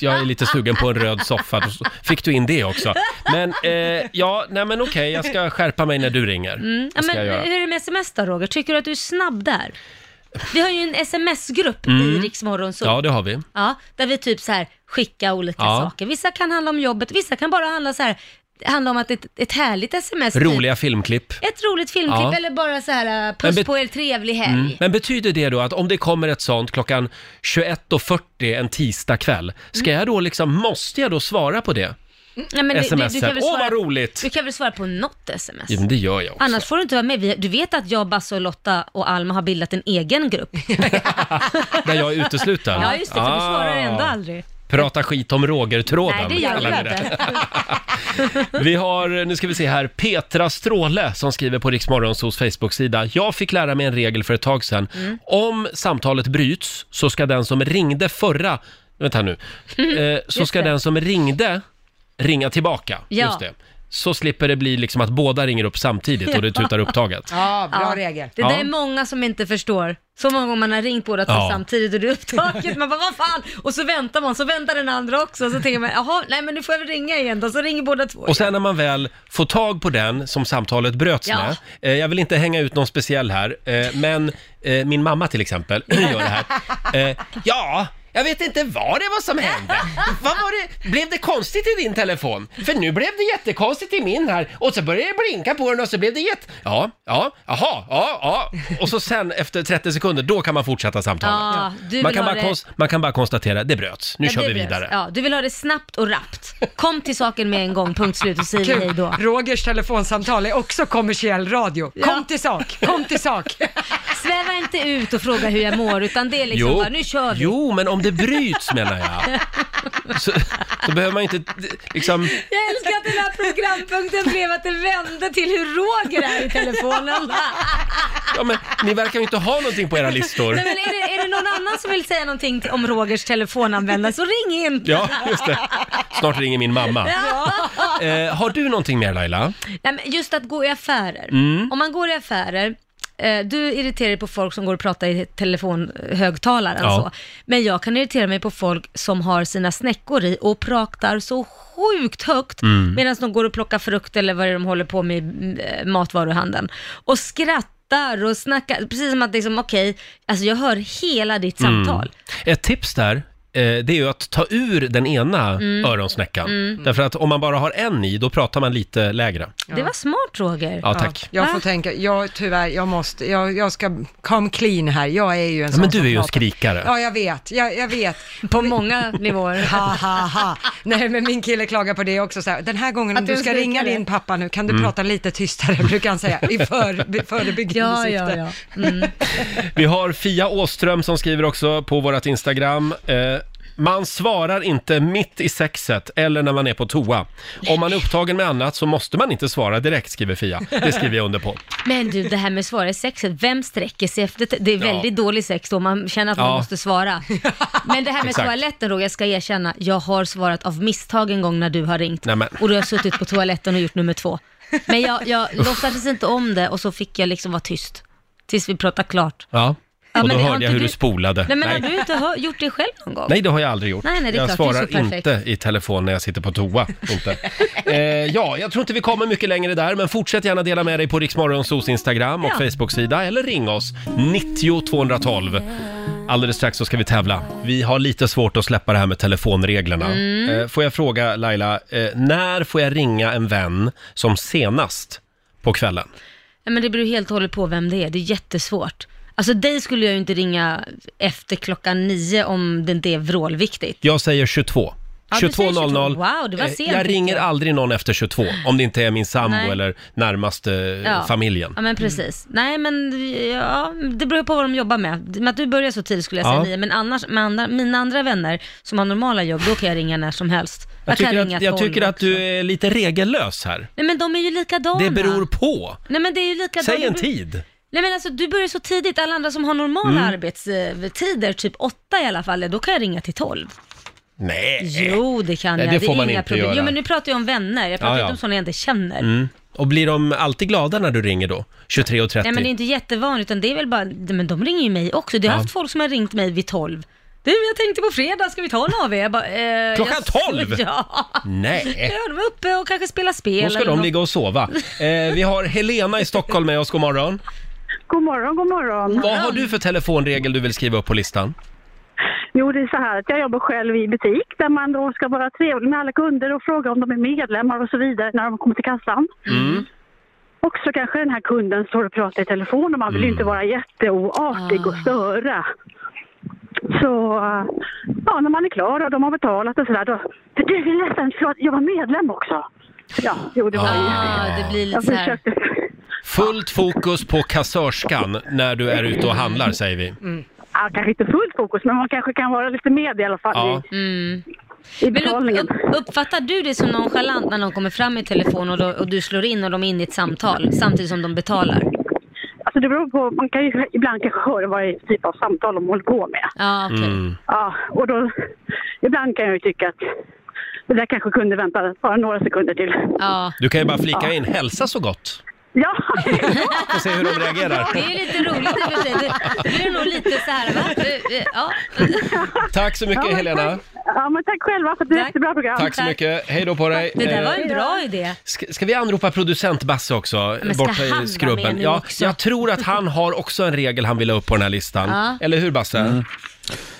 S1: Jag är lite sugen på en röd soffa. Då Fick du in det också? Men, eh, ja, nej men okej, jag ska skärpa mig när du ringer.
S2: Mm. Ja,
S1: Det ska
S2: men
S1: jag göra.
S2: hur är det med sms då Roger? Tycker du att du är snabb där? Vi har ju en sms-grupp i
S1: Mm.
S2: Riksmorgon så.
S1: Ja, det har vi.
S2: Ja, där vi typ så här skickar olika
S1: Ja.
S2: saker. Vissa kan handla om jobbet, vissa kan bara handla så här, handla om att ett, ett härligt sms. typ.
S1: Roliga filmklipp.
S2: Ett roligt filmklipp
S1: Ja.
S2: eller bara så här, äh,
S1: Men
S2: puss
S1: bet-
S2: på er, trevlig helg.
S1: Mm. Men betyder det då att om det kommer ett sånt klockan 21.40 en tisdagkväll,
S2: Mm.
S1: ska jag då liksom, måste jag då svara på det?
S2: Nej, men du- du, du
S1: SMS-et.
S2: kan väl
S1: Åh,
S2: svara,
S1: vad roligt!
S2: Du kan väl svara på något sms?
S1: Jo, men det gör jag också.
S2: Annars får du inte vara med. Vi- Du vet att jag, Basse och Lotta och Alma har bildat en egen grupp.
S1: Där jag är utesluten. Ah.
S2: Ja, just det, för du svarar ändå aldrig.
S1: Prata skit om Roger-tråden.
S2: Nej, det gör
S1: kallar
S2: jag
S1: vi det.
S2: inte.
S1: Vi har, nu ska vi se här, Petra Stråle som skriver på Riksmorgonsos Facebook-sida. Jag fick lära mig en regel för ett tag sedan.
S2: Mm.
S1: Om samtalet bryts så ska den som ringde förra, vänta nu, eh, så
S13: Just
S1: ska
S13: det.
S1: den som ringde ringa tillbaka.
S13: Ja.
S1: Just det. Så slipper det bli liksom att båda ringer upp samtidigt och det tutar upp taget.
S3: Ja, bra regel.
S2: Det
S1: Ja.
S2: där är många som inte förstår. Så många gånger man har ringt båda två
S1: Ja.
S2: samtidigt och det är upptaget. Man bara, vad fan? Och så väntar man, så väntar den andra också. Och så tänker man, jaha, nej men nu får jag väl ringa igen då. Så ringer båda två.
S1: Och sen när man väl får tag på den som samtalet bröts
S2: Ja.
S1: med. Eh, jag vill inte hänga ut någon speciell här, eh, men eh, min mamma till exempel gör det här. Eh, ja, jag vet inte vad det var som hände. Vad var det? Blev det konstigt i din telefon? För nu blev det jättekonstigt i min här och så började det blinka på den och så blev det jätte... Ja, ja, aha, ja, ja. Och så sen efter 30 sekunder, då kan man fortsätta samtalet.
S2: Ja, du vill
S1: man, kan
S2: ha
S1: bara
S2: det-
S1: kons- man kan bara konstatera, det bröts, nu
S2: Ja,
S1: kör
S2: det
S1: vi
S2: behövs.
S1: vidare.
S2: Ja, du vill ha det snabbt och rappt. Kom till saken med en gång, punkt slut och säg
S3: Kul.
S2: hej då.
S3: Rogers telefonsamtal är också kommersiell radio. Kom till sak, kom till sak.
S2: Sväva inte ut och fråga hur jag mår, utan det är liksom bara, nu kör vi.
S1: jo, men om det bryts menar jag. Så, så behöver man inte liksom...
S2: Jag älskar att den här programpunkten blev att det vände till hur Roger är i telefonen.
S1: Ja, men ni verkar ju inte ha någonting på era listor.
S2: Nej, men är, det, är det någon annan som vill säga någonting till- om Rogers telefonanvändare så ring in.
S1: Ja, just det. Snart ringer min mamma. Eh, har du någonting mer Laila?
S2: Nej, men just att gå i affärer.
S1: Mm.
S2: Om man går i affärer, eh, du irriterar dig på folk som går och pratar i telefonhögtalaren
S1: Ja.
S2: så. Men jag kan irritera mig på folk som har sina snäckor i och pratar så sjukt högt
S5: Mm.
S2: medan de går och plockar frukt eller vad det är de håller på med i mm, matvaruhandeln. Och skrattar och snackar, precis som att liksom okej, alltså jag hör hela ditt samtal.
S1: Mm. Ett tips där, eh, det är ju att ta ur den ena
S2: Mm.
S1: öronsnäckan.
S2: Mm.
S1: Därför att om man bara har en i, då pratar man lite lägre.
S2: Det var smart Roger.
S1: Ja, tack.
S3: Jag
S2: Va?
S3: får tänka, jag tyvärr, jag måste, jag, jag ska come clean här. Jag är ju en
S1: Ja,
S3: sån
S1: men du
S3: som
S1: är ju en
S3: pratar.
S1: skrikare.
S3: Ja, jag vet, jag, jag vet.
S2: På många nivåer.
S3: ha, ha, ha. Nej, men min kille klagar på det också så här, den här gången om
S2: Att
S3: du
S2: du
S3: ska
S2: skriker
S3: ringa
S2: det.
S3: din pappa nu, kan du
S1: Mm.
S3: prata lite tystare, brukar han säga, i för, förebyggande
S2: Ja,
S3: syfte.
S2: ja, ja.
S1: Vi har Fia Åström som skriver också på vårt Instagram. Eh, man svarar inte mitt i sexet eller när man är på toa. Om man är upptagen med annat så måste man inte svara direkt, skriver Fia. Det skriver jag under på.
S2: Men du, det här med svara i sexet, vem sträcker sig efter? te- Det är
S1: Ja.
S2: väldigt dålig sex då, man känner att
S1: Ja.
S2: man måste svara. Men det här med
S1: Exakt.
S2: toaletten Roger, jag ska erkänna, jag har svarat av misstag en gång när du har ringt.
S1: Nej, men.
S2: Och du har jag suttit på toaletten och gjort nummer två. Men jag, jag låtsades inte om det och så fick jag liksom vara tyst. Tills vi pratade klart.
S1: Ja,
S2: Ja,
S1: och
S2: men
S1: då
S2: har
S1: hörde
S2: inte
S1: jag hur
S2: du-
S1: du spolade.
S2: Nej men har
S1: Nej.
S2: du inte hör, gjort det själv någon gång?
S1: Nej, det har jag aldrig gjort.
S2: Nej, nej, det är
S1: jag
S2: klart. Du är
S1: svarar
S2: så perfekt.
S1: inte i telefon när jag sitter på toa. Inte. eh, ja, jag tror inte vi kommer mycket längre där, men fortsätt gärna dela med dig på Riksmorgonsos Instagram och
S2: Ja.
S1: Facebook-sida eller ring oss, 90 212. Alldeles strax så ska vi tävla. Vi har lite svårt att släppa det här med telefonreglerna.
S2: Mm.
S1: Eh, får jag fråga Laila, eh, när får jag ringa en vän som senast på kvällen?
S2: Nej, men det beror helt och hållet på vem det är, det är jättesvårt. Alltså dig skulle jag ju inte ringa efter klockan nio om det inte är vrålviktigt.
S1: Jag säger 22.
S2: Ja, du säger
S1: 22.00.
S2: 22. Wow, det var
S1: Eh,
S2: sent.
S1: Jag ringer aldrig någon efter 22, om det inte är min sambo
S2: Nej.
S1: eller närmaste
S2: Ja.
S1: eh, familjen.
S2: Ja men precis. Nej men ja, det beror på vad de jobbar med. Med att du börjar så tidigt skulle jag säga
S1: Ja.
S2: nio, men annars med andra, mina andra vänner som har normala jobb, då kan jag ringa när som helst.
S1: Jag,
S2: kan
S1: tycker
S2: ringa
S1: att, jag
S2: tolv
S1: tycker att du är lite regellös här.
S2: Nej men de är ju likadana.
S1: Det beror på.
S2: Nej men det är ju likadana.
S1: Säg en
S2: Det beror-
S1: tid.
S2: Nej men alltså du börjar så tidigt, alla andra som har normala
S1: Mm.
S2: arbetstider, typ åtta i alla fall, då kan jag ringa till tolv.
S1: Nej.
S2: Jo det kan
S1: Eh. Nej,
S2: jag,
S1: det får
S2: är
S1: man
S2: inga
S1: inte
S2: problem.
S1: göra.
S2: Jo men nu pratar jag om vänner, jag pratar
S1: Ja,
S2: inte
S1: ja.
S2: om sådana jag inte känner.
S1: Mm. Och blir de alltid glada när du ringer då? 23.30?
S2: Nej men det är inte jättevanligt, utan det är väl bara, men de ringer ju mig också. Det har
S1: Typ. Ja.
S2: haft folk som har ringt mig vid 12. Du, jag tänkte på fredag, ska vi ta en AW? Jag bara, eh,
S1: Klockan
S2: jag-
S1: 12?
S2: Ja.
S1: Nej.
S2: Ja, de är uppe och kanske spelar spel.
S1: Då ska
S2: eller
S1: de
S2: något.
S1: ligga och sova. Eh, vi har Helena i Stockholm med oss, god morgon.
S7: God morgon, god morgon.
S1: Vad har du för telefonregel du vill skriva upp på listan?
S7: Jo, det är så här att jag jobbar själv i butik där man då ska vara trevlig med alla kunder och fråga om de är medlemmar och så vidare när de kommer till kassan.
S1: Mm.
S7: Och så kanske den här kunden står och pratar i telefon och man vill ju
S2: Mm.
S7: inte vara jätteoartig och störa. Så eh, ja, när man är klar och de har betalat och sådär då... Du, det är ledsen, förlåt, jag var medlem också. Ja, jo, det var
S2: Ah, det blir lite
S7: jag
S2: så här.
S7: försökte,
S1: Fullt fokus på kassörskan när du är ute och handlar, säger vi.
S7: ja, kanske inte fullt fokus, men man kanske kan vara lite med i alla fall.
S1: Ja.
S7: i-
S2: Mm. Men upp, upp, uppfattar du det som nonchalant när någon kommer fram i telefon och, då, och du slår in och de är inne i ett samtal samtidigt som de betalar?
S7: Alltså det beror på, man kan ju ibland kanske höra vad det är för typ av samtal de håller på med.
S2: Ja, okej.
S1: Mm.
S7: Ja, och då, ibland kan jag ju tycka att det där kanske kunde vänta bara några sekunder till.
S2: Ja.
S1: Du kan ju bara flika in “hälsa så gott”
S7: Ja,
S1: och se hur de reagerar.
S2: Det är ju lite roligt i och för sig. Det- Det blir nog lite så här, va? Du, eh, Ja.
S1: Tack så mycket
S7: Ja, men
S1: Helena.
S7: ja, men tack själva för ett jättebra program.
S1: Tack så mycket. Hej då på dig.
S2: Det där var
S1: Eh,
S2: en bra idé.
S1: Ska, ska vi anropa producent Basse också,
S2: men ska
S1: borta
S2: han vara
S1: i
S2: med
S1: skrubben?
S2: nu
S1: Ja,
S2: också?
S1: jag tror att han har också en regel han vill ha upp på den här listan.
S2: Ja.
S1: Eller hur Basse?
S10: Mm.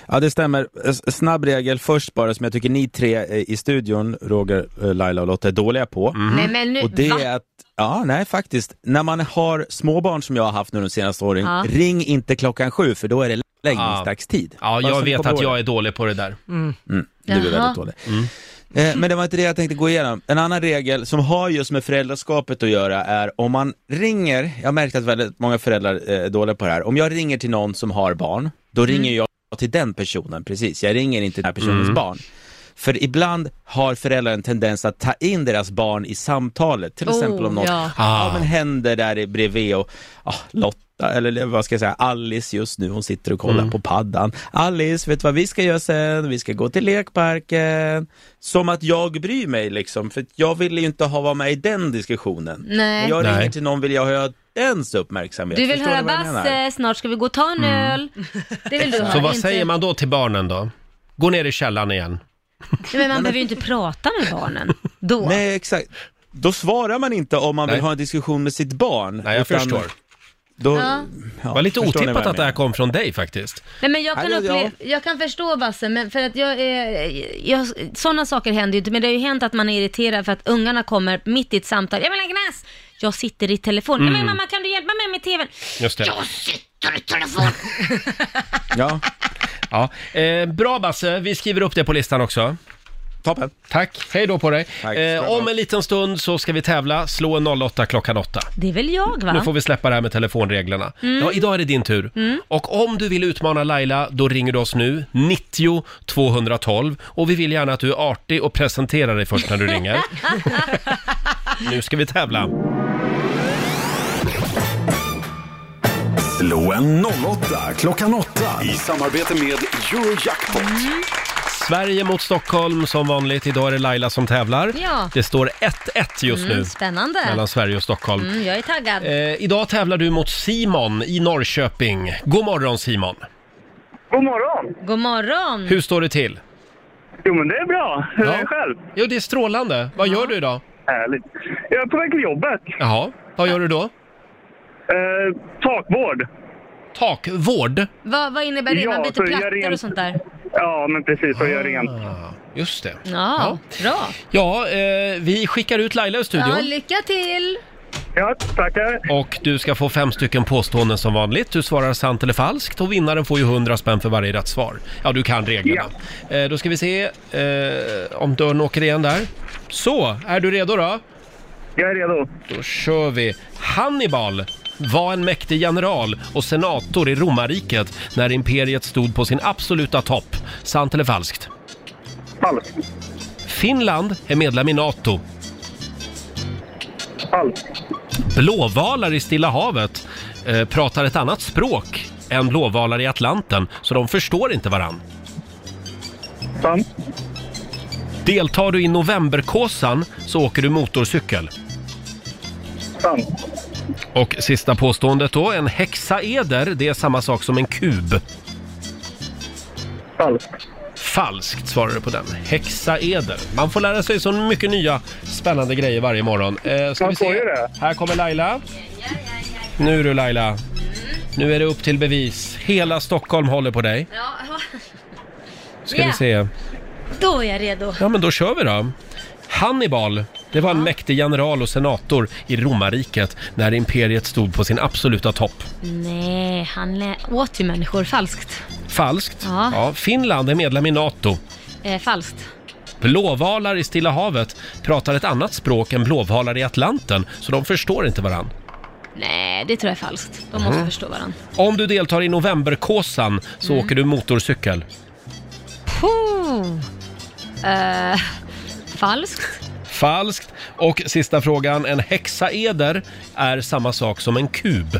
S10: Ja, det stämmer. S- Snabb regel först bara, som jag tycker ni tre eh, i studion, Roger, eh, Laila och Lotta, är dåliga på.
S1: Mm. Mhm.
S2: Nej, men nu-
S10: och det
S2: va?
S10: är att, ja, nej faktiskt. När man har småbarn som jag har haft nu de senaste åren,
S2: Ja.
S10: ring inte klockan sju, för då är det läggningsdagstid.
S1: Ah. Ja,
S10: Bara så
S1: jag
S10: ni
S1: vet
S10: kommer
S1: att
S10: ihåg
S1: jag är dålig på det där.
S10: Mm, du är
S1: Jaha.
S10: väldigt dålig. Eh, Men det var inte det jag tänkte gå igenom. En annan regel som har just med föräldraskapet att göra är om man ringer, jag har märkt att väldigt många föräldrar eh, är dåliga på det här, om jag ringer till någon som har barn, då ringer jag till den personen, precis, jag ringer inte till den här personens
S12: Mm.
S10: barn. För ibland har föräldrar en tendens att ta in deras barn i samtalet. Till
S12: Oh,
S10: exempel om något
S12: ja.
S10: ja.
S12: Ah.
S10: men händer där i- bredvid och ah, Lotta, eller vad ska jag säga, Alice just nu, hon sitter och kollar på paddan. Alice, vet du vad vi ska göra sen? Vi ska gå till lekparken. Som att jag bryr mig liksom, för att jag vill ju inte ha vara med i den diskussionen.
S2: Nej.
S10: När jag ringer
S2: Nej.
S10: till någon vill jag ha dens uppmärksamhet.
S2: Du vill
S10: Förstår
S2: höra
S10: vad jag menar?
S2: Basse, snart ska vi gå och ta en
S1: Mm.
S2: öl. Det vill du höra.
S1: Så vad
S2: inte-
S1: säger man då till barnen då? Gå ner i källaren igen.
S2: Nej, men man behöver ju inte prata med barnen. Då.
S10: Nej, exakt. Då svarar man inte om man vill ha en diskussion med sitt barn. Nej,
S1: jag förstår.
S10: Då,
S2: Ja.
S10: ja,
S1: det var lite
S10: förstår ni vad jag
S1: otippat att det
S10: menar?
S1: här kom från dig faktiskt.
S2: Nej, men jag kan,
S1: Ja, ja, ja.
S2: upple- jag kan förstå Basse, men för att jag, är- jag, sådana saker händer ju inte, men det har ju hänt att man är irriterad för att ungarna kommer mitt i ett samtal. Jag vill Agnes! Jag sitter i telefon.
S1: Mm.
S2: Nej, men mamma kan du hjälpa mig med TVn?
S1: Just det.
S2: Jag sitter i telefon!
S10: Ja.
S1: ja. Eh, bra Basse, vi skriver upp det på listan också.
S10: Toppen.
S1: Tack, hej då på dig.
S10: ska
S1: Eh,
S10: du ha.
S1: om en liten stund så ska vi tävla, slå en 08 klockan 8.
S2: Det är väl jag va?
S1: Nu får vi släppa det här med telefonreglerna.
S2: Mm.
S1: Ja, idag är det din tur.
S2: Mm.
S1: Och om du vill utmana Laila, då ringer du oss nu, 90 212. Och vi vill gärna att du är artig och presenterar dig först när du ringer. nu ska vi tävla.
S4: Slå en 08 klockan 8. I samarbete med Eurojackpot.
S1: Sverige mot Stockholm som vanligt. Idag är det Laila som tävlar.
S2: Ja.
S1: Det står 1-1 just
S2: Mm,
S1: nu
S2: spännande.
S1: mellan Sverige och Stockholm.
S2: Mm, jag är taggad.
S1: Eh, idag tävlar du mot Simon i Norrköping. God morgon Simon!
S13: God morgon!
S2: God morgon!
S1: Hur står det till?
S13: Jo men det är bra. Hur är det själv?
S1: Jo det är strålande. Vad gör du idag?
S13: Härligt. Jag är på väg till jobbet.
S1: Jaha, vad gör du då?
S13: Eh, takvård.
S1: Takvård?
S2: Vad, vad innebär det?
S13: Ja,
S2: Man
S13: så
S2: byter
S13: jag
S2: plattor
S13: rent-
S2: och sånt där?
S13: Ja men precis, och gör rent.
S1: Just det.
S2: Ja, bra.
S1: Ja, eh, vi skickar ut Laila ur studion.
S2: Ja, lycka till!
S13: Ja, tackar.
S1: Och du ska få fem stycken påståenden som vanligt. Du svarar sant eller falskt och vinnaren får ju 100 spänn för varje rätt svar. Ja, du kan reglerna. Eh, då ska vi se eh, om dörren åker igen där. Så, är du redo då?
S13: Jag är redo.
S1: Då kör vi. Hannibal var en mäktig general och senator i romarriket när imperiet stod på sin absoluta topp. Sant eller falskt?
S13: Falskt.
S1: Finland är medlem i NATO.
S13: Falskt.
S1: Blåvalar i Stilla havet eh, pratar ett annat språk än blåvalar i Atlanten, så de förstår inte varann.
S13: Sant.
S1: Deltar du i Novemberkåsan så åker du motorcykel.
S13: Sant.
S1: Och sista påståendet då, en hexaeder, det är samma sak som en kub.
S13: Falskt.
S1: Falskt svarar du på den. Hexaeder. Man får lära sig så mycket nya spännande grejer varje morgon. Eh, ska vi se. Här kommer Laila. Nu du Laila. Nu är det upp till bevis. Hela Stockholm håller på dig.
S2: Ja.
S1: Ska
S2: Ja,
S1: vi se.
S2: Då är jag redo.
S1: Ja, men då kör vi då. Hannibal, det var en mäktig general och senator i romarriket när imperiet stod på sin absoluta topp.
S2: Nej, han lä- åt ju människor falskt.
S1: Falskt.
S2: Ja.
S1: Ja, Finland är medlem i NATO.
S2: Eh, falskt.
S1: Blåvalar i Stilla havet pratar ett annat språk än blåvalar i Atlanten, så de förstår inte varann.
S2: Nej, det tror jag är falskt. De måste
S1: Mhm.
S2: förstå varandra.
S1: Om du deltar i Novemberkåsan så åker du motorcykel.
S2: Puh. Eh, falskt.
S1: Falskt. Och sista frågan, en hexaeder är samma sak som en kub.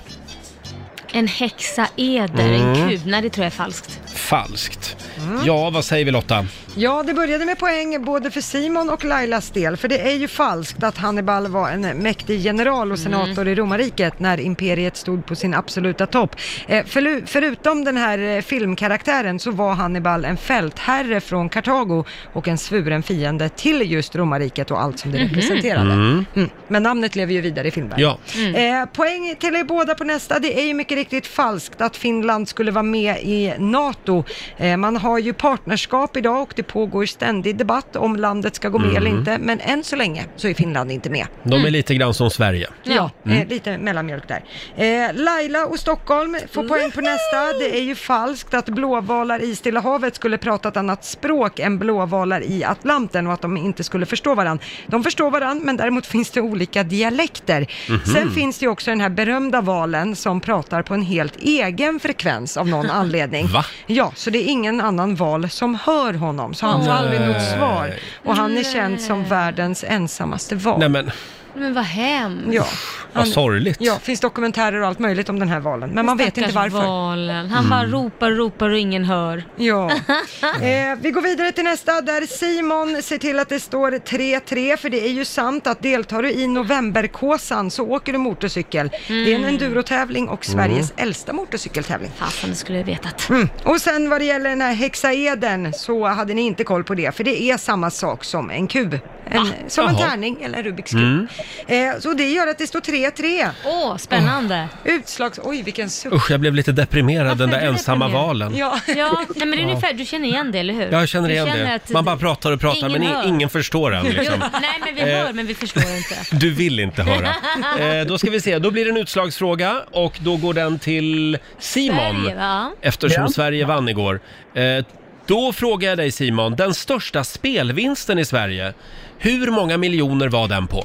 S2: En häxa eder, en
S1: Mm.
S2: kub. Nej, det tror jag är falskt.
S1: Falskt. Ja, vad säger vi Lotta?
S3: Ja, det började med poäng både för Simon och Lailas del, för det är ju falskt att Hannibal var en mäktig general och senator i romarriket när imperiet stod på sin absoluta topp. Eh, förlu- förutom den här eh, filmkaraktären så var Hannibal en fältherre från Kartago och en svuren fiende till just romarriket och allt som det
S2: Mhm.
S3: representerade.
S1: Mm.
S3: Mm. Men namnet lever ju vidare i filmvärlden.
S1: Ja.
S3: Eh, poäng till er båda på nästa. Det är ju mycket riktigt falskt att Finland skulle vara med i NATO. Eh, man har ju partnerskap idag och det pågår ständig debatt om landet ska gå med
S1: Mm.
S3: eller inte. Men än så länge så är Finland inte med.
S1: De är lite grann som Sverige.
S3: Ja,
S1: Mm.
S3: eh, lite mellanmjölk där. Eh, Laila och Stockholm får poäng på nästa. Det är ju falskt att blåvalar i Stilla havet skulle prata ett annat språk än blåvalar i Atlanten och att de inte skulle förstå varandra. De förstår varandra, men däremot finns det olika dialekter.
S5: Mhm.
S3: Sen finns det ju också den här berömda valen som pratar på en helt egen frekvens av någon anledning.
S5: Va?
S3: Ja, så det är ingen annan annan val som hör honom. Så han får
S1: Nej.
S3: aldrig något svar. Och han är känd
S2: Nej.
S3: som världens ensammaste val.
S1: Nej men,
S2: Men vad hemskt.
S3: Ja.
S1: vad sorgligt.
S3: Ja, finns dokumentärer och allt möjligt om den här valen. Men man vet inte
S2: Stackars
S3: varför.
S2: Valen. Han bara
S1: Mm.
S2: ropar och ropar och ingen hör.
S3: Ja. Eh, vi går vidare till nästa där Simon ser till att det står 3-3 för det är ju sant att deltar du i Novemberkåsan så åker du motorcykel. Det är
S2: Mm.
S3: en endurotävling och Sveriges äldsta motorcykeltävling.
S2: Fasen, det skulle jag vetat.
S3: Mm. Och sen vad det gäller den här hexaeden så hade ni inte koll på det för det är samma sak som en kub. En, som en
S2: Ah, Jaha. Mm.
S3: tärning eller en Rubiks kub. Eh, så det gör att det står 3-3.
S2: Åh, spännande.
S1: Mm.
S3: Utslags... Oj, vilken suck.
S1: Usch, jag blev lite deprimerad, den där ensamma valen.
S3: Ja.
S2: Ja, nej, men det är
S1: Ja.
S2: ungefär, du känner igen det, eller hur?
S1: Ja, Jag känner
S2: Du
S1: igen
S2: att
S1: det. Man bara pratar och pratar
S2: ingen
S1: men i-
S2: hör.
S1: ingen förstår en. Liksom.
S2: Jo, nej, men vi
S1: Eh.
S2: hör, men vi förstår inte.
S1: Du vill inte höra. Eh, då ska vi se, då blir det en utslagsfråga och då går den till Simon.
S2: Sverige, va?
S1: Eftersom
S2: Ja.
S1: Sverige vann igår. Eh, då frågar jag dig Simon, den största spelvinsten i Sverige, hur många miljoner var den på?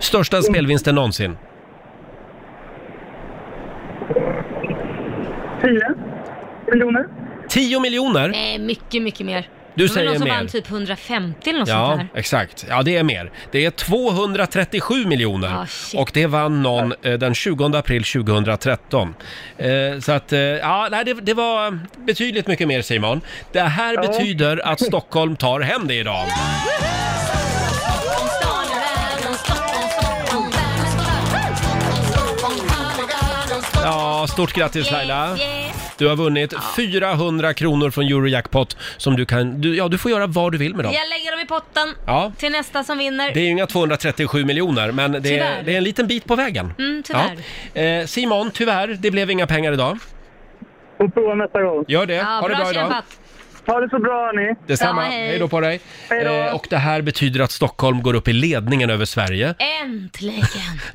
S1: Största spelvinsten någonsin?
S13: Tio miljoner.
S1: 10 miljoner?
S2: Nej, mycket, mycket mer.
S1: Du
S2: det var
S1: säger
S2: någon som
S1: mer.
S2: vann typ 150 eller något sånt
S1: Ja,
S2: där.
S1: exakt. Ja, det är mer. Det är 237 miljoner. och det vann någon eh, den 20 april 2013. Eh, så att, eh, ja, nej, det, det var betydligt mycket mer Simon. Det här betyder att Stockholm tar hem det idag. Ja, stort grattis Laila. Du har vunnit 400 kronor från Eurojackpot som du kan, du, ja du får göra vad du vill med dem.
S2: Jag lägger dem i potten
S1: Ja.
S2: till nästa som vinner.
S1: Det är ju inga 237 miljoner, men det är,
S2: Tyvärr.
S1: det är en liten bit på vägen.
S2: Mm, tyvärr.
S1: Ja. Eh, Simon, tyvärr, det blev inga pengar idag.
S13: Och prova nästa gång.
S1: Gör det. ha det bra idag.
S13: Ha det så bra hörni.
S1: Detsamma. hej. då på dig. Eh, och det här betyder att Stockholm går upp i ledningen över Sverige.
S2: Äntligen!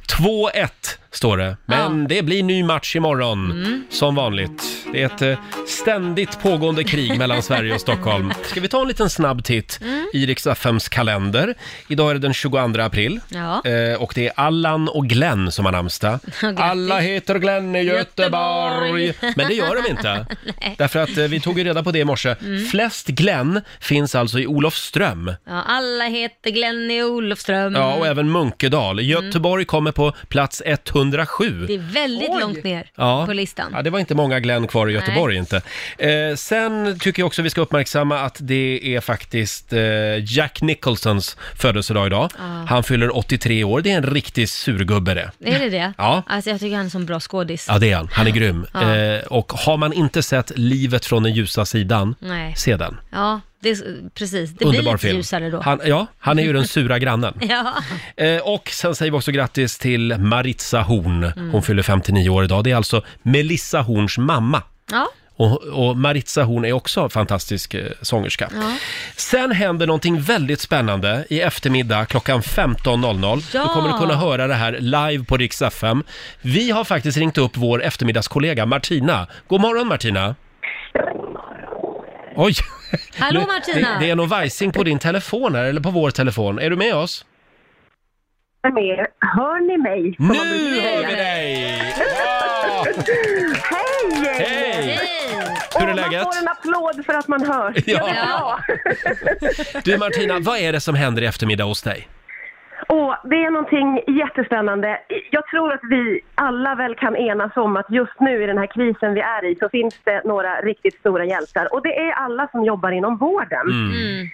S1: 2-1 står det, men det blir ny match imorgon. Som vanligt. Det är ett eh, ständigt pågående krig mellan Sverige och Stockholm. Ska vi ta en liten snabb titt i Rix FMs kalender? Idag är det den 22 april
S2: Ja.
S1: eh, och det är Allan och Glenn som har namnsdag. Alla heter Glenn i Göteborg. Men det gör de inte. Därför att eh, vi tog ju reda på det i morse. Flest Glenn finns alltså i Olofström.
S2: Ja, alla heter Glenn i Olofström.
S1: Ja, och även Munkedal. Göteborg kommer på plats 107.
S2: Det är väldigt långt ner
S1: Ja.
S2: på listan.
S1: Ja, det var inte många Glenn kvar i Göteborg
S2: Nej.
S1: inte. Eh, sen tycker jag också vi ska uppmärksamma att det är faktiskt eh, Jack Nicholsons födelsedag idag.
S2: Ah.
S1: Han fyller 83 år. Det är en riktig surgubbe det.
S2: Är det det?
S1: Ja.
S2: Alltså jag tycker han är som bra skådis.
S1: Ja, det är han. Han är grym.
S2: Ja.
S1: Eh, och har man inte sett Livet från den ljusa sidan,
S2: Mm. Nej.
S1: se den.
S2: Ja, det är, precis. Det blir
S1: Underbar
S2: lite
S1: film.
S2: ljusare då.
S1: Han, ja, han är ju den sura grannen.
S2: Ja.
S1: Eh, och sen säger vi också grattis till Maritza Horn. Hon
S2: Mm.
S1: fyller 59 år idag. Det är alltså Melissa Horns mamma.
S2: Ja.
S1: Och, och Maritza Horn är också en fantastisk eh, sångerska.
S2: Ja.
S1: Sen händer någonting väldigt spännande i eftermiddag klockan 15.00. Då
S2: Ja.
S1: kommer du kunna höra det här live på Rix FM. Vi har faktiskt ringt upp vår eftermiddagskollega Martina. God morgon Martina! Oj!
S2: Hallå,
S1: Nu-
S2: Martina.
S1: Det, det är någon vajsing på din telefon här, eller på vår telefon. Är du med oss?
S12: Hör ni mig?
S1: Nu hör vi dig! Ja!
S12: Hej!
S1: Hej! Hur är läget?
S12: Man får en applåd för att man hörs.
S1: Ja.
S12: Ja. Jag är bra.
S1: Du Martina, vad är det som händer i eftermiddag hos dig?
S12: Och det är någonting jättespännande. Jag tror att vi alla väl kan enas om att just nu i den här krisen vi är i så finns det några riktigt stora hjältar. Och det är alla som jobbar inom vården. Mm.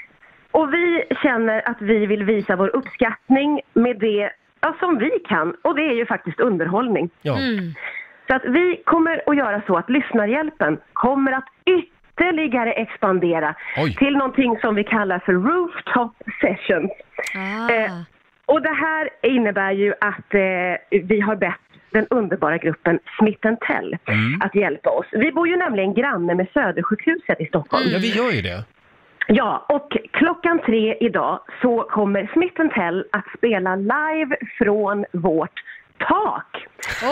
S12: Och vi känner att vi vill visa vår uppskattning med det ja, som vi kan. Och det är ju faktiskt underhållning.
S1: Ja.
S2: Mm.
S12: Så att vi kommer att göra så att lyssnarhjälpen kommer att ytterligare expandera till någonting som vi kallar för rooftop sessions.
S2: Ah.
S12: Eh, och det här innebär ju att eh, vi har bett den underbara gruppen Smitten Tell att hjälpa oss. Vi bor ju nämligen granne med Södersjukhuset i Stockholm.
S1: Ja, vi gör ju det.
S12: Ja, och klockan tre idag så kommer Smith Tell att spela live från vårt tak.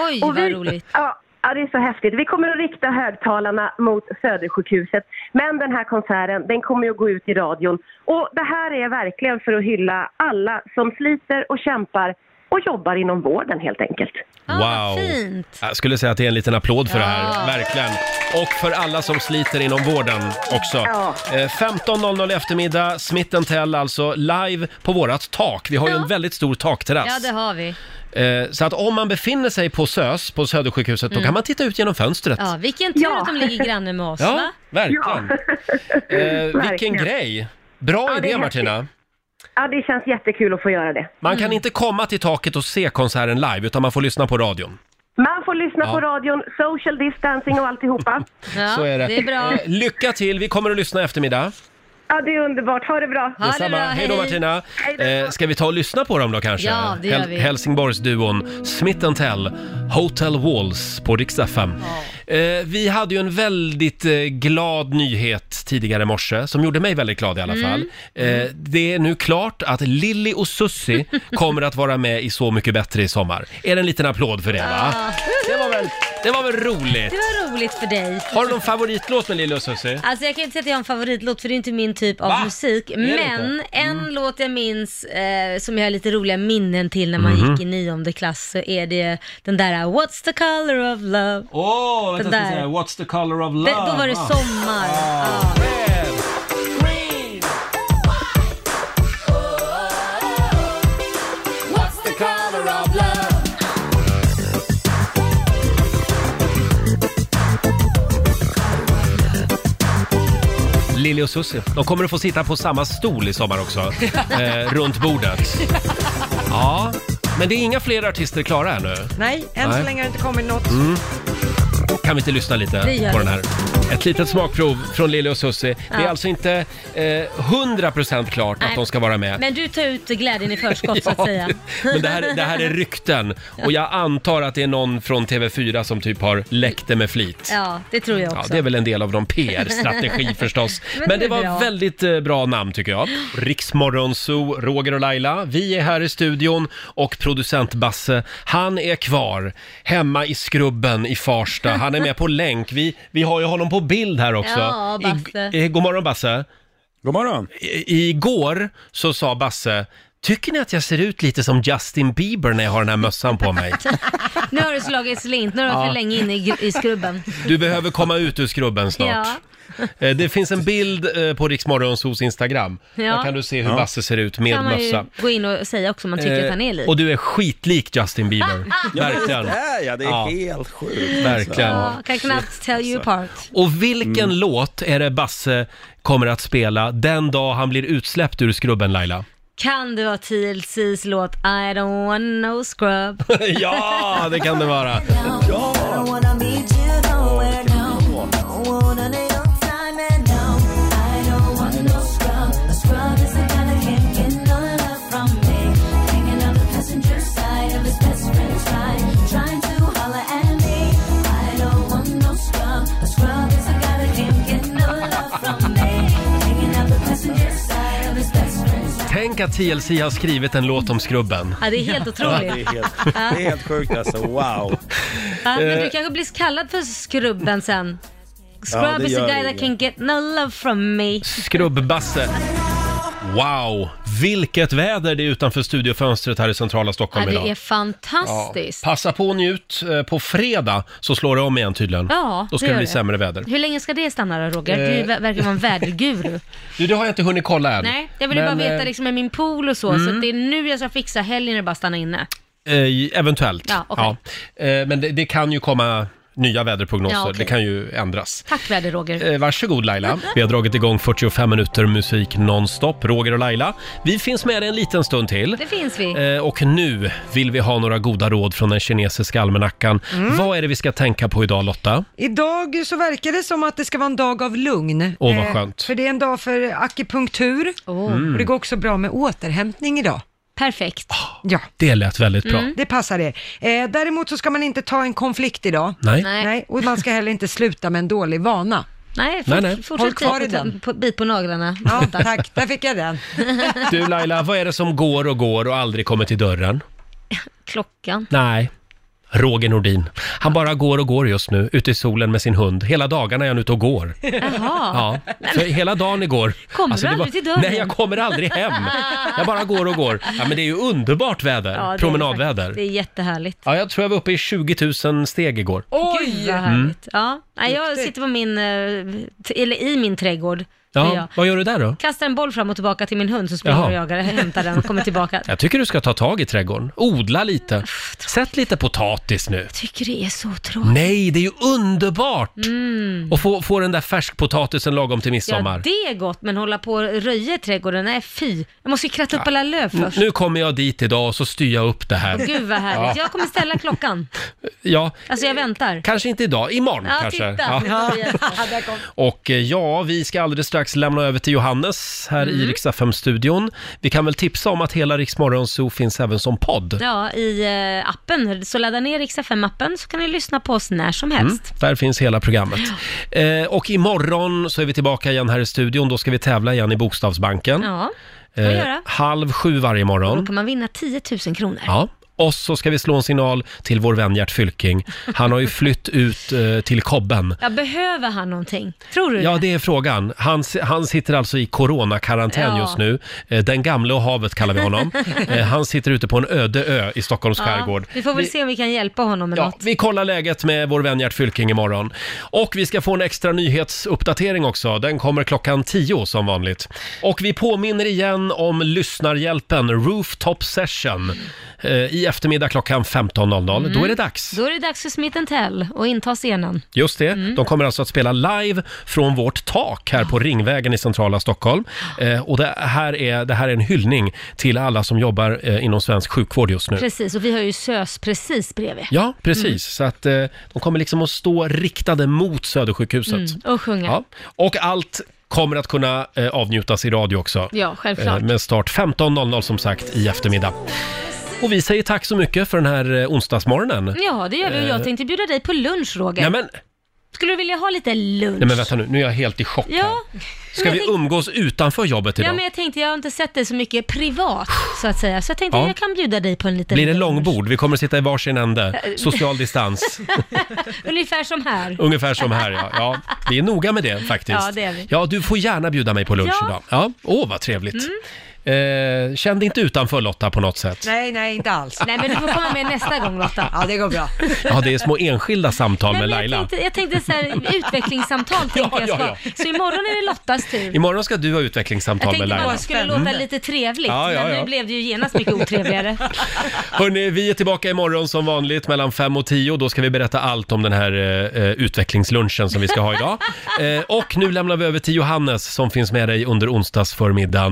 S2: Oj,
S12: och
S2: vad
S12: vi,
S2: roligt.
S12: Ja, ja, det är så häftigt. Vi kommer att rikta högtalarna mot Södersjukhuset. Men den här konserten, den kommer ju att gå ut i radion. Och det här är verkligen för att hylla alla som sliter och kämpar och jobbar inom vården helt enkelt.
S2: Ah,
S1: Wow! Jag skulle säga att det är en liten applåd för det här, verkligen. Och för alla som sliter inom vården också. Eh, 15.00 i eftermiddag, Smith Tell alltså, live på vårat tak. Vi har ju en väldigt stor
S2: Ja,
S1: takterrass.
S2: det har vi.
S1: Eh, Så att om man befinner sig på SÖS, på Södersjukhuset,
S2: Mm.
S1: då kan man titta ut genom fönstret.
S2: Ja, vilken tur att de ligger granne med oss,
S1: Ja,
S2: va?
S1: verkligen. Eh, vilken
S12: Verkligen.
S1: grej! Bra
S12: Ja, det är
S1: idé Martina!
S12: Ja, det känns jättekul att få göra det.
S1: Man kan inte komma till taket och se konserten live, utan man får lyssna på radion.
S12: Man får lyssna
S1: Ja.
S12: på radion, social distancing och alltihopa.
S1: Så är det. Eh, Lycka till, vi kommer att lyssna i eftermiddag.
S12: Ja, det är underbart. Ha det bra.
S1: Detsamma. hej då Martina! Eh, ska vi ta och lyssna på dem då kanske?
S12: Ja, det gör
S1: Hel-
S12: vi.
S1: Helsingborgsduon Smith Tell, Hotel Walls på riksdag 5. Eh, vi hade ju en väldigt eh, glad nyhet tidigare i morse, som gjorde mig väldigt glad i alla
S14: Mm.
S1: fall. Eh, det är nu klart att Lilly och Susie kommer att vara med i Så mycket bättre i sommar. Är det en liten applåd för det va? Det var väl, det var väl
S2: Det
S1: roligt?
S2: var roligt för dig.
S1: Har du någon favoritlåt med Lilly och Susie?
S2: Alltså jag kan inte säga att jag har en favoritlåt för det är inte min typ av
S1: Va?
S2: musik.
S1: Är det
S2: Men
S1: inte? Mm.
S2: en låt jag minns eh, som jag har lite roliga minnen till när man
S1: Mhm.
S2: gick i nionde klass så är det den där uh, What's the color of love?
S1: Åh,
S2: vänta, Den jag ska där. säga,
S1: What's the color of
S2: Det, då var det sommar. Ja.
S5: What's the color of love?
S1: Lili och Susie, de kommer att få sitta på samma stol i sommar också. eh, runt bordet. Ja, men det är inga fler artister klara ännu.
S3: Nej, än så
S1: Nej.
S3: länge har det inte kommit något.
S1: Mm. Kan vi inte lyssna lite
S3: Det gör
S1: på
S3: vi.
S1: den här? Ett litet smakprov från Lili och Susie. Det är
S2: Ja.
S1: alltså inte eh, 100% klart
S2: Nej.
S1: att de ska vara med.
S2: Men du tar ut glädjen i förskott så att
S1: Ja,
S2: säga.
S1: Men det här, det här är rykten och jag antar att det är någon från TV4 som typ har läckt det med flit.
S2: Ja, det tror jag
S1: Ja,
S2: också.
S1: det är väl en del av någon PR-strategi förstås.
S2: Men det
S1: Men det
S2: är
S1: var
S2: bra.
S1: väldigt eh, bra namn tycker jag. Riksmorgonzoo, Roger och Laila. Vi är här i studion och producent Basse, han är kvar hemma i skrubben i Farsta. Han är med på länk. Vi, vi har ju honom på bild här också.
S2: Ja, Basse.
S1: I, eh, god morgon Basse.
S15: God morgon.
S1: I, igår så sa Basse, tycker ni att jag ser ut lite som Justin Bieber när jag har den här mössan på mig?
S2: Nu har du slagit slint, nu har du varit
S1: Ja.
S2: för länge inne i, gr- i skrubben.
S1: Du behöver komma ut ur skrubben snart.
S2: Ja.
S1: Eh, Det finns en bild eh, på Riksmorgonsos Instagram.
S2: Ja.
S1: Där kan du se hur
S2: Ja.
S1: Basse ser ut med
S2: kan man
S1: mössa.
S2: ju gå in och säga också om man tycker
S1: Eh,
S2: att han är lik.
S1: Och du är skitlik Justin Bieber.
S2: Ja, men
S1: Verkligen.
S2: det är
S15: jag. Det är helt sjukt.
S1: Verkligen.
S2: Ja, kan knappt tell you apart.
S1: Och vilken låt är det Basse kommer att spela den dag han blir utsläppt ur skrubben Laila?
S2: Kan det vara TLC's låt I don't want no scrub?
S1: ja, det kan det vara. Tänk att TLC har skrivit en låt om skrubben.
S2: Ja, det är helt otroligt.
S15: Det är helt, det är helt sjukt alltså. Wow.
S2: Ja, men du
S15: Eh.
S2: kanske blir kallad för skrubben sen. Scrub
S1: Ja, det
S2: is a
S1: gör
S2: guy
S1: det
S2: that can get no love from me.
S1: Skrubb-Basse. Wow, vilket väder det är utanför studiofönstret här i centrala
S2: Ja,
S1: Stockholm idag.
S2: det är fantastiskt.
S1: Ja. Passa på och njut. Eh, På fredag så slår det om igen tydligen.
S2: Ja,
S1: Då ska
S2: det
S1: det
S2: gör
S1: bli
S2: det.
S1: sämre väder.
S2: Hur länge ska det stanna då Roger?
S1: Eh.
S2: Du ver- verkar vara en väderguru.
S1: Du, det har jag inte hunnit kolla än.
S2: Nej, jag ville
S1: Men,
S2: bara veta
S1: eh,
S2: liksom med min pool och så, så
S1: mm.
S2: att det är nu jag ska fixa helgen och bara stanna inne.
S1: eh, eventuellt.
S2: liksom- Ja, okej.
S1: Ja. Eh, Men det, det kan ju komma nya väderprognoser.
S2: Ja, okej.
S1: Det kan ju ändras.
S2: Tack väder Roger.
S1: Eh, Varsågod Laila. Vi har dragit igång 45 minuter musik nonstop. Roger och Laila. Vi finns med dig en liten stund till.
S2: Det finns vi.
S1: Eh, Och nu vill vi ha några goda råd från den kinesiska almanackan.
S2: Mm.
S1: Vad är det vi ska tänka på idag Lotta?
S3: Idag så verkar det som att det ska vara en dag av lugn.
S1: Åh, vad
S3: Eh,
S1: skönt.
S3: För det är en dag för akupunktur.
S1: Mm. Ah.
S3: Och det går också bra med återhämtning idag.
S2: Perfekt.
S3: Ja.
S1: Det lät väldigt bra.
S2: Mm.
S3: Det passar er. Eh, däremot så ska man inte ta en konflikt idag.
S1: Nej.
S2: Nej.
S3: Och man ska heller inte sluta med en dålig vana.
S2: Nej,
S1: Nej, nej.
S2: fortsätt
S3: Håll kvar
S2: bit
S3: i
S2: på-
S3: den.
S2: På, bit på naglarna.
S3: Ja, tack. Där fick jag den.
S1: Du Laila, vad är det som går och går och aldrig kommer till dörren?
S2: Klockan.
S1: Nej. Roger Nordin. Han bara går och går just nu, ute i solen med sin hund. Hela dagarna är han ute och går.
S2: Jaha.
S1: Ja, så hela dagen igår. Alltså,
S2: Kommer du
S1: det
S2: aldrig
S1: var-
S2: till dörren?
S1: Nej, jag kommer aldrig hem. Jag bara går och går. Ja, men det är ju underbart väder.
S2: Ja, det är
S1: Promenadväder.
S2: faktiskt- Det är jättehärligt.
S1: Ja, jag tror jag var uppe i 20 000 steg igår.
S2: Oj! Mm. Gud vad härligt. Ja. Nej, jag
S3: Duktigt.
S2: sitter på min, eh, t- eller i min trädgård. gör
S1: Ja,
S2: jag.
S1: vad gör du där då?
S2: Kastar en boll fram och tillbaka till min hund så springer
S1: Jaha.
S2: och jagar, hämtar den och kommer tillbaka.
S1: Jag tycker du ska ta tag i trädgården. Odla lite. Sätt lite potatis nu.
S2: tycker det är så tråkigt.
S1: Nej, det är ju underbart!
S2: Mm.
S1: Och få, få den där färskpotatisen lagom till midsommar.
S2: Ja, det är gott, men hålla på och röja i trädgården, nej fy. Jag måste ju kratta upp alla löv
S1: N-
S2: först.
S1: Nu kommer jag dit idag och så styr jag upp det här.
S2: Gud vad härligt.
S1: Ja.
S2: Jag kommer ställa klockan.
S1: Ja,
S2: Alltså jag väntar.
S1: kanske inte idag, imorgon
S2: Ja,
S1: kanske.
S2: titta.
S1: Ja.
S2: Ja. Där kom.
S1: Och eh, ja, vi ska alldeles strax lämna över till Johannes här i
S2: Mm.
S1: Rix studion Vi kan väl tipsa om att hela Rix Morgon Zoo finns även som podd.
S2: Ja, i eh, appen. Så ladda ner Rix FM-appen så kan ni lyssna på oss när som helst.
S1: Mm, där finns hela programmet. Eh, och imorgon så är vi tillbaka igen här i studion. Då ska vi tävla igen i Bokstavsbanken.
S2: Ja, det
S1: Eh,
S2: kan vi göra.
S1: halv sju varje
S2: Då
S1: morgon.
S2: kan man vinna 10 000 kronor.
S1: Ja. Och så ska vi slå en signal till vår vän Gert Fylking. Han har ju flytt ut eh, till kobben.
S2: Ja, behöver han någonting? Tror du
S1: Ja, det är frågan. Han, si- han sitter alltså i coronakarantän
S2: Ja.
S1: just nu. Eh, Den gamle och havet kallar vi honom. Eh, Han sitter ute på en öde ö i Stockholms skärgård.
S2: Vi får väl
S1: Vi-
S2: se om vi kan hjälpa honom med
S1: Ja,
S2: något.
S1: vi kollar läget med vår vän Gert Fylking imorgon. Och vi ska få en extra nyhetsuppdatering också. Den kommer klockan 10 som vanligt. Och vi påminner igen om lyssnarhjälpen Rooftop Session eh, i eftermiddag klockan 15.00. Då är det dags.
S2: Då är det dags för Smith Tell och inta scenen.
S1: Just det, de kommer alltså att spela live från vårt tak här på Ringvägen i centrala Stockholm. Eh, och det här, är, det här är en hyllning till alla som jobbar eh, inom svensk sjukvård just nu.
S2: Precis, och vi har ju SÖS precis bredvid.
S1: Ja, precis.
S2: Mm.
S1: Så att eh, de kommer liksom att stå riktade mot Södersjukhuset.
S2: Mm, och sjunga.
S1: Ja. Och allt kommer att kunna eh, avnjutas i radio också. Eh,
S2: Ja, självklart.
S1: med start 15.00 som sagt i eftermiddag. Och vi säger tack så mycket för den här eh, onsdagsmorgonen.
S2: Ja, det gör vi. Och
S1: Eh,
S2: jag tänkte bjuda dig på lunch, Roger.
S1: Nej men,
S2: Skulle du vilja ha lite lunch?
S1: nej men vänta nu, nu är jag helt i chock.
S2: Ja.
S1: Ska
S2: Men jag
S1: vi
S2: tänkte-
S1: umgås utanför jobbet
S2: Ja,
S1: idag?
S2: men jag tänkte, jag har inte sett dig så mycket privat, så att säga. Så jag tänkte,
S1: Ja.
S2: jag kan bjuda dig på en liten...
S1: Blir det långbord? Vi kommer att sitta i varsin
S2: eh,
S1: ände. Social distans.
S2: Ungefär som här.
S1: Ungefär som här ja. ja. Vi är noga med det faktiskt.
S2: Ja, det är vi.
S1: Ja, du får gärna bjuda mig på lunch
S2: Ja. Mm.
S1: idag. Ja. Åh, vad trevligt. Eh, känn dig inte utanför Lotta på något sätt.
S3: Nej, nej, inte alls.
S2: Nej, men du får komma med nästa gång, Lotta.
S3: Ja, det går bra.
S1: Ja, det är små enskilda samtal med
S2: Jag
S1: Laila.
S2: tänkte, jag tänkte så här, utvecklingssamtal tänkte
S1: Ja,
S2: jag
S1: ja,
S2: ska.
S1: ja.
S2: Så imorgon är det Lottas tur.
S1: Imorgon ska du ha
S2: Jag
S1: utvecklingssamtal
S2: tänkte
S1: med
S2: bara att
S1: Laila.
S2: det skulle låta lite trevligt,
S1: Ja, ja,
S2: men
S1: ja.
S2: nu blev det ju genast mycket otrevligare.
S1: Hörrni, vi är tillbaka imorgon som vanligt mellan 5 och 10. Då ska vi berätta allt om den här eh, eh, utvecklingslunchen som vi ska ha idag. Eh, och nu lämnar vi över till Johannes som finns med dig under onsdagsförmiddagen.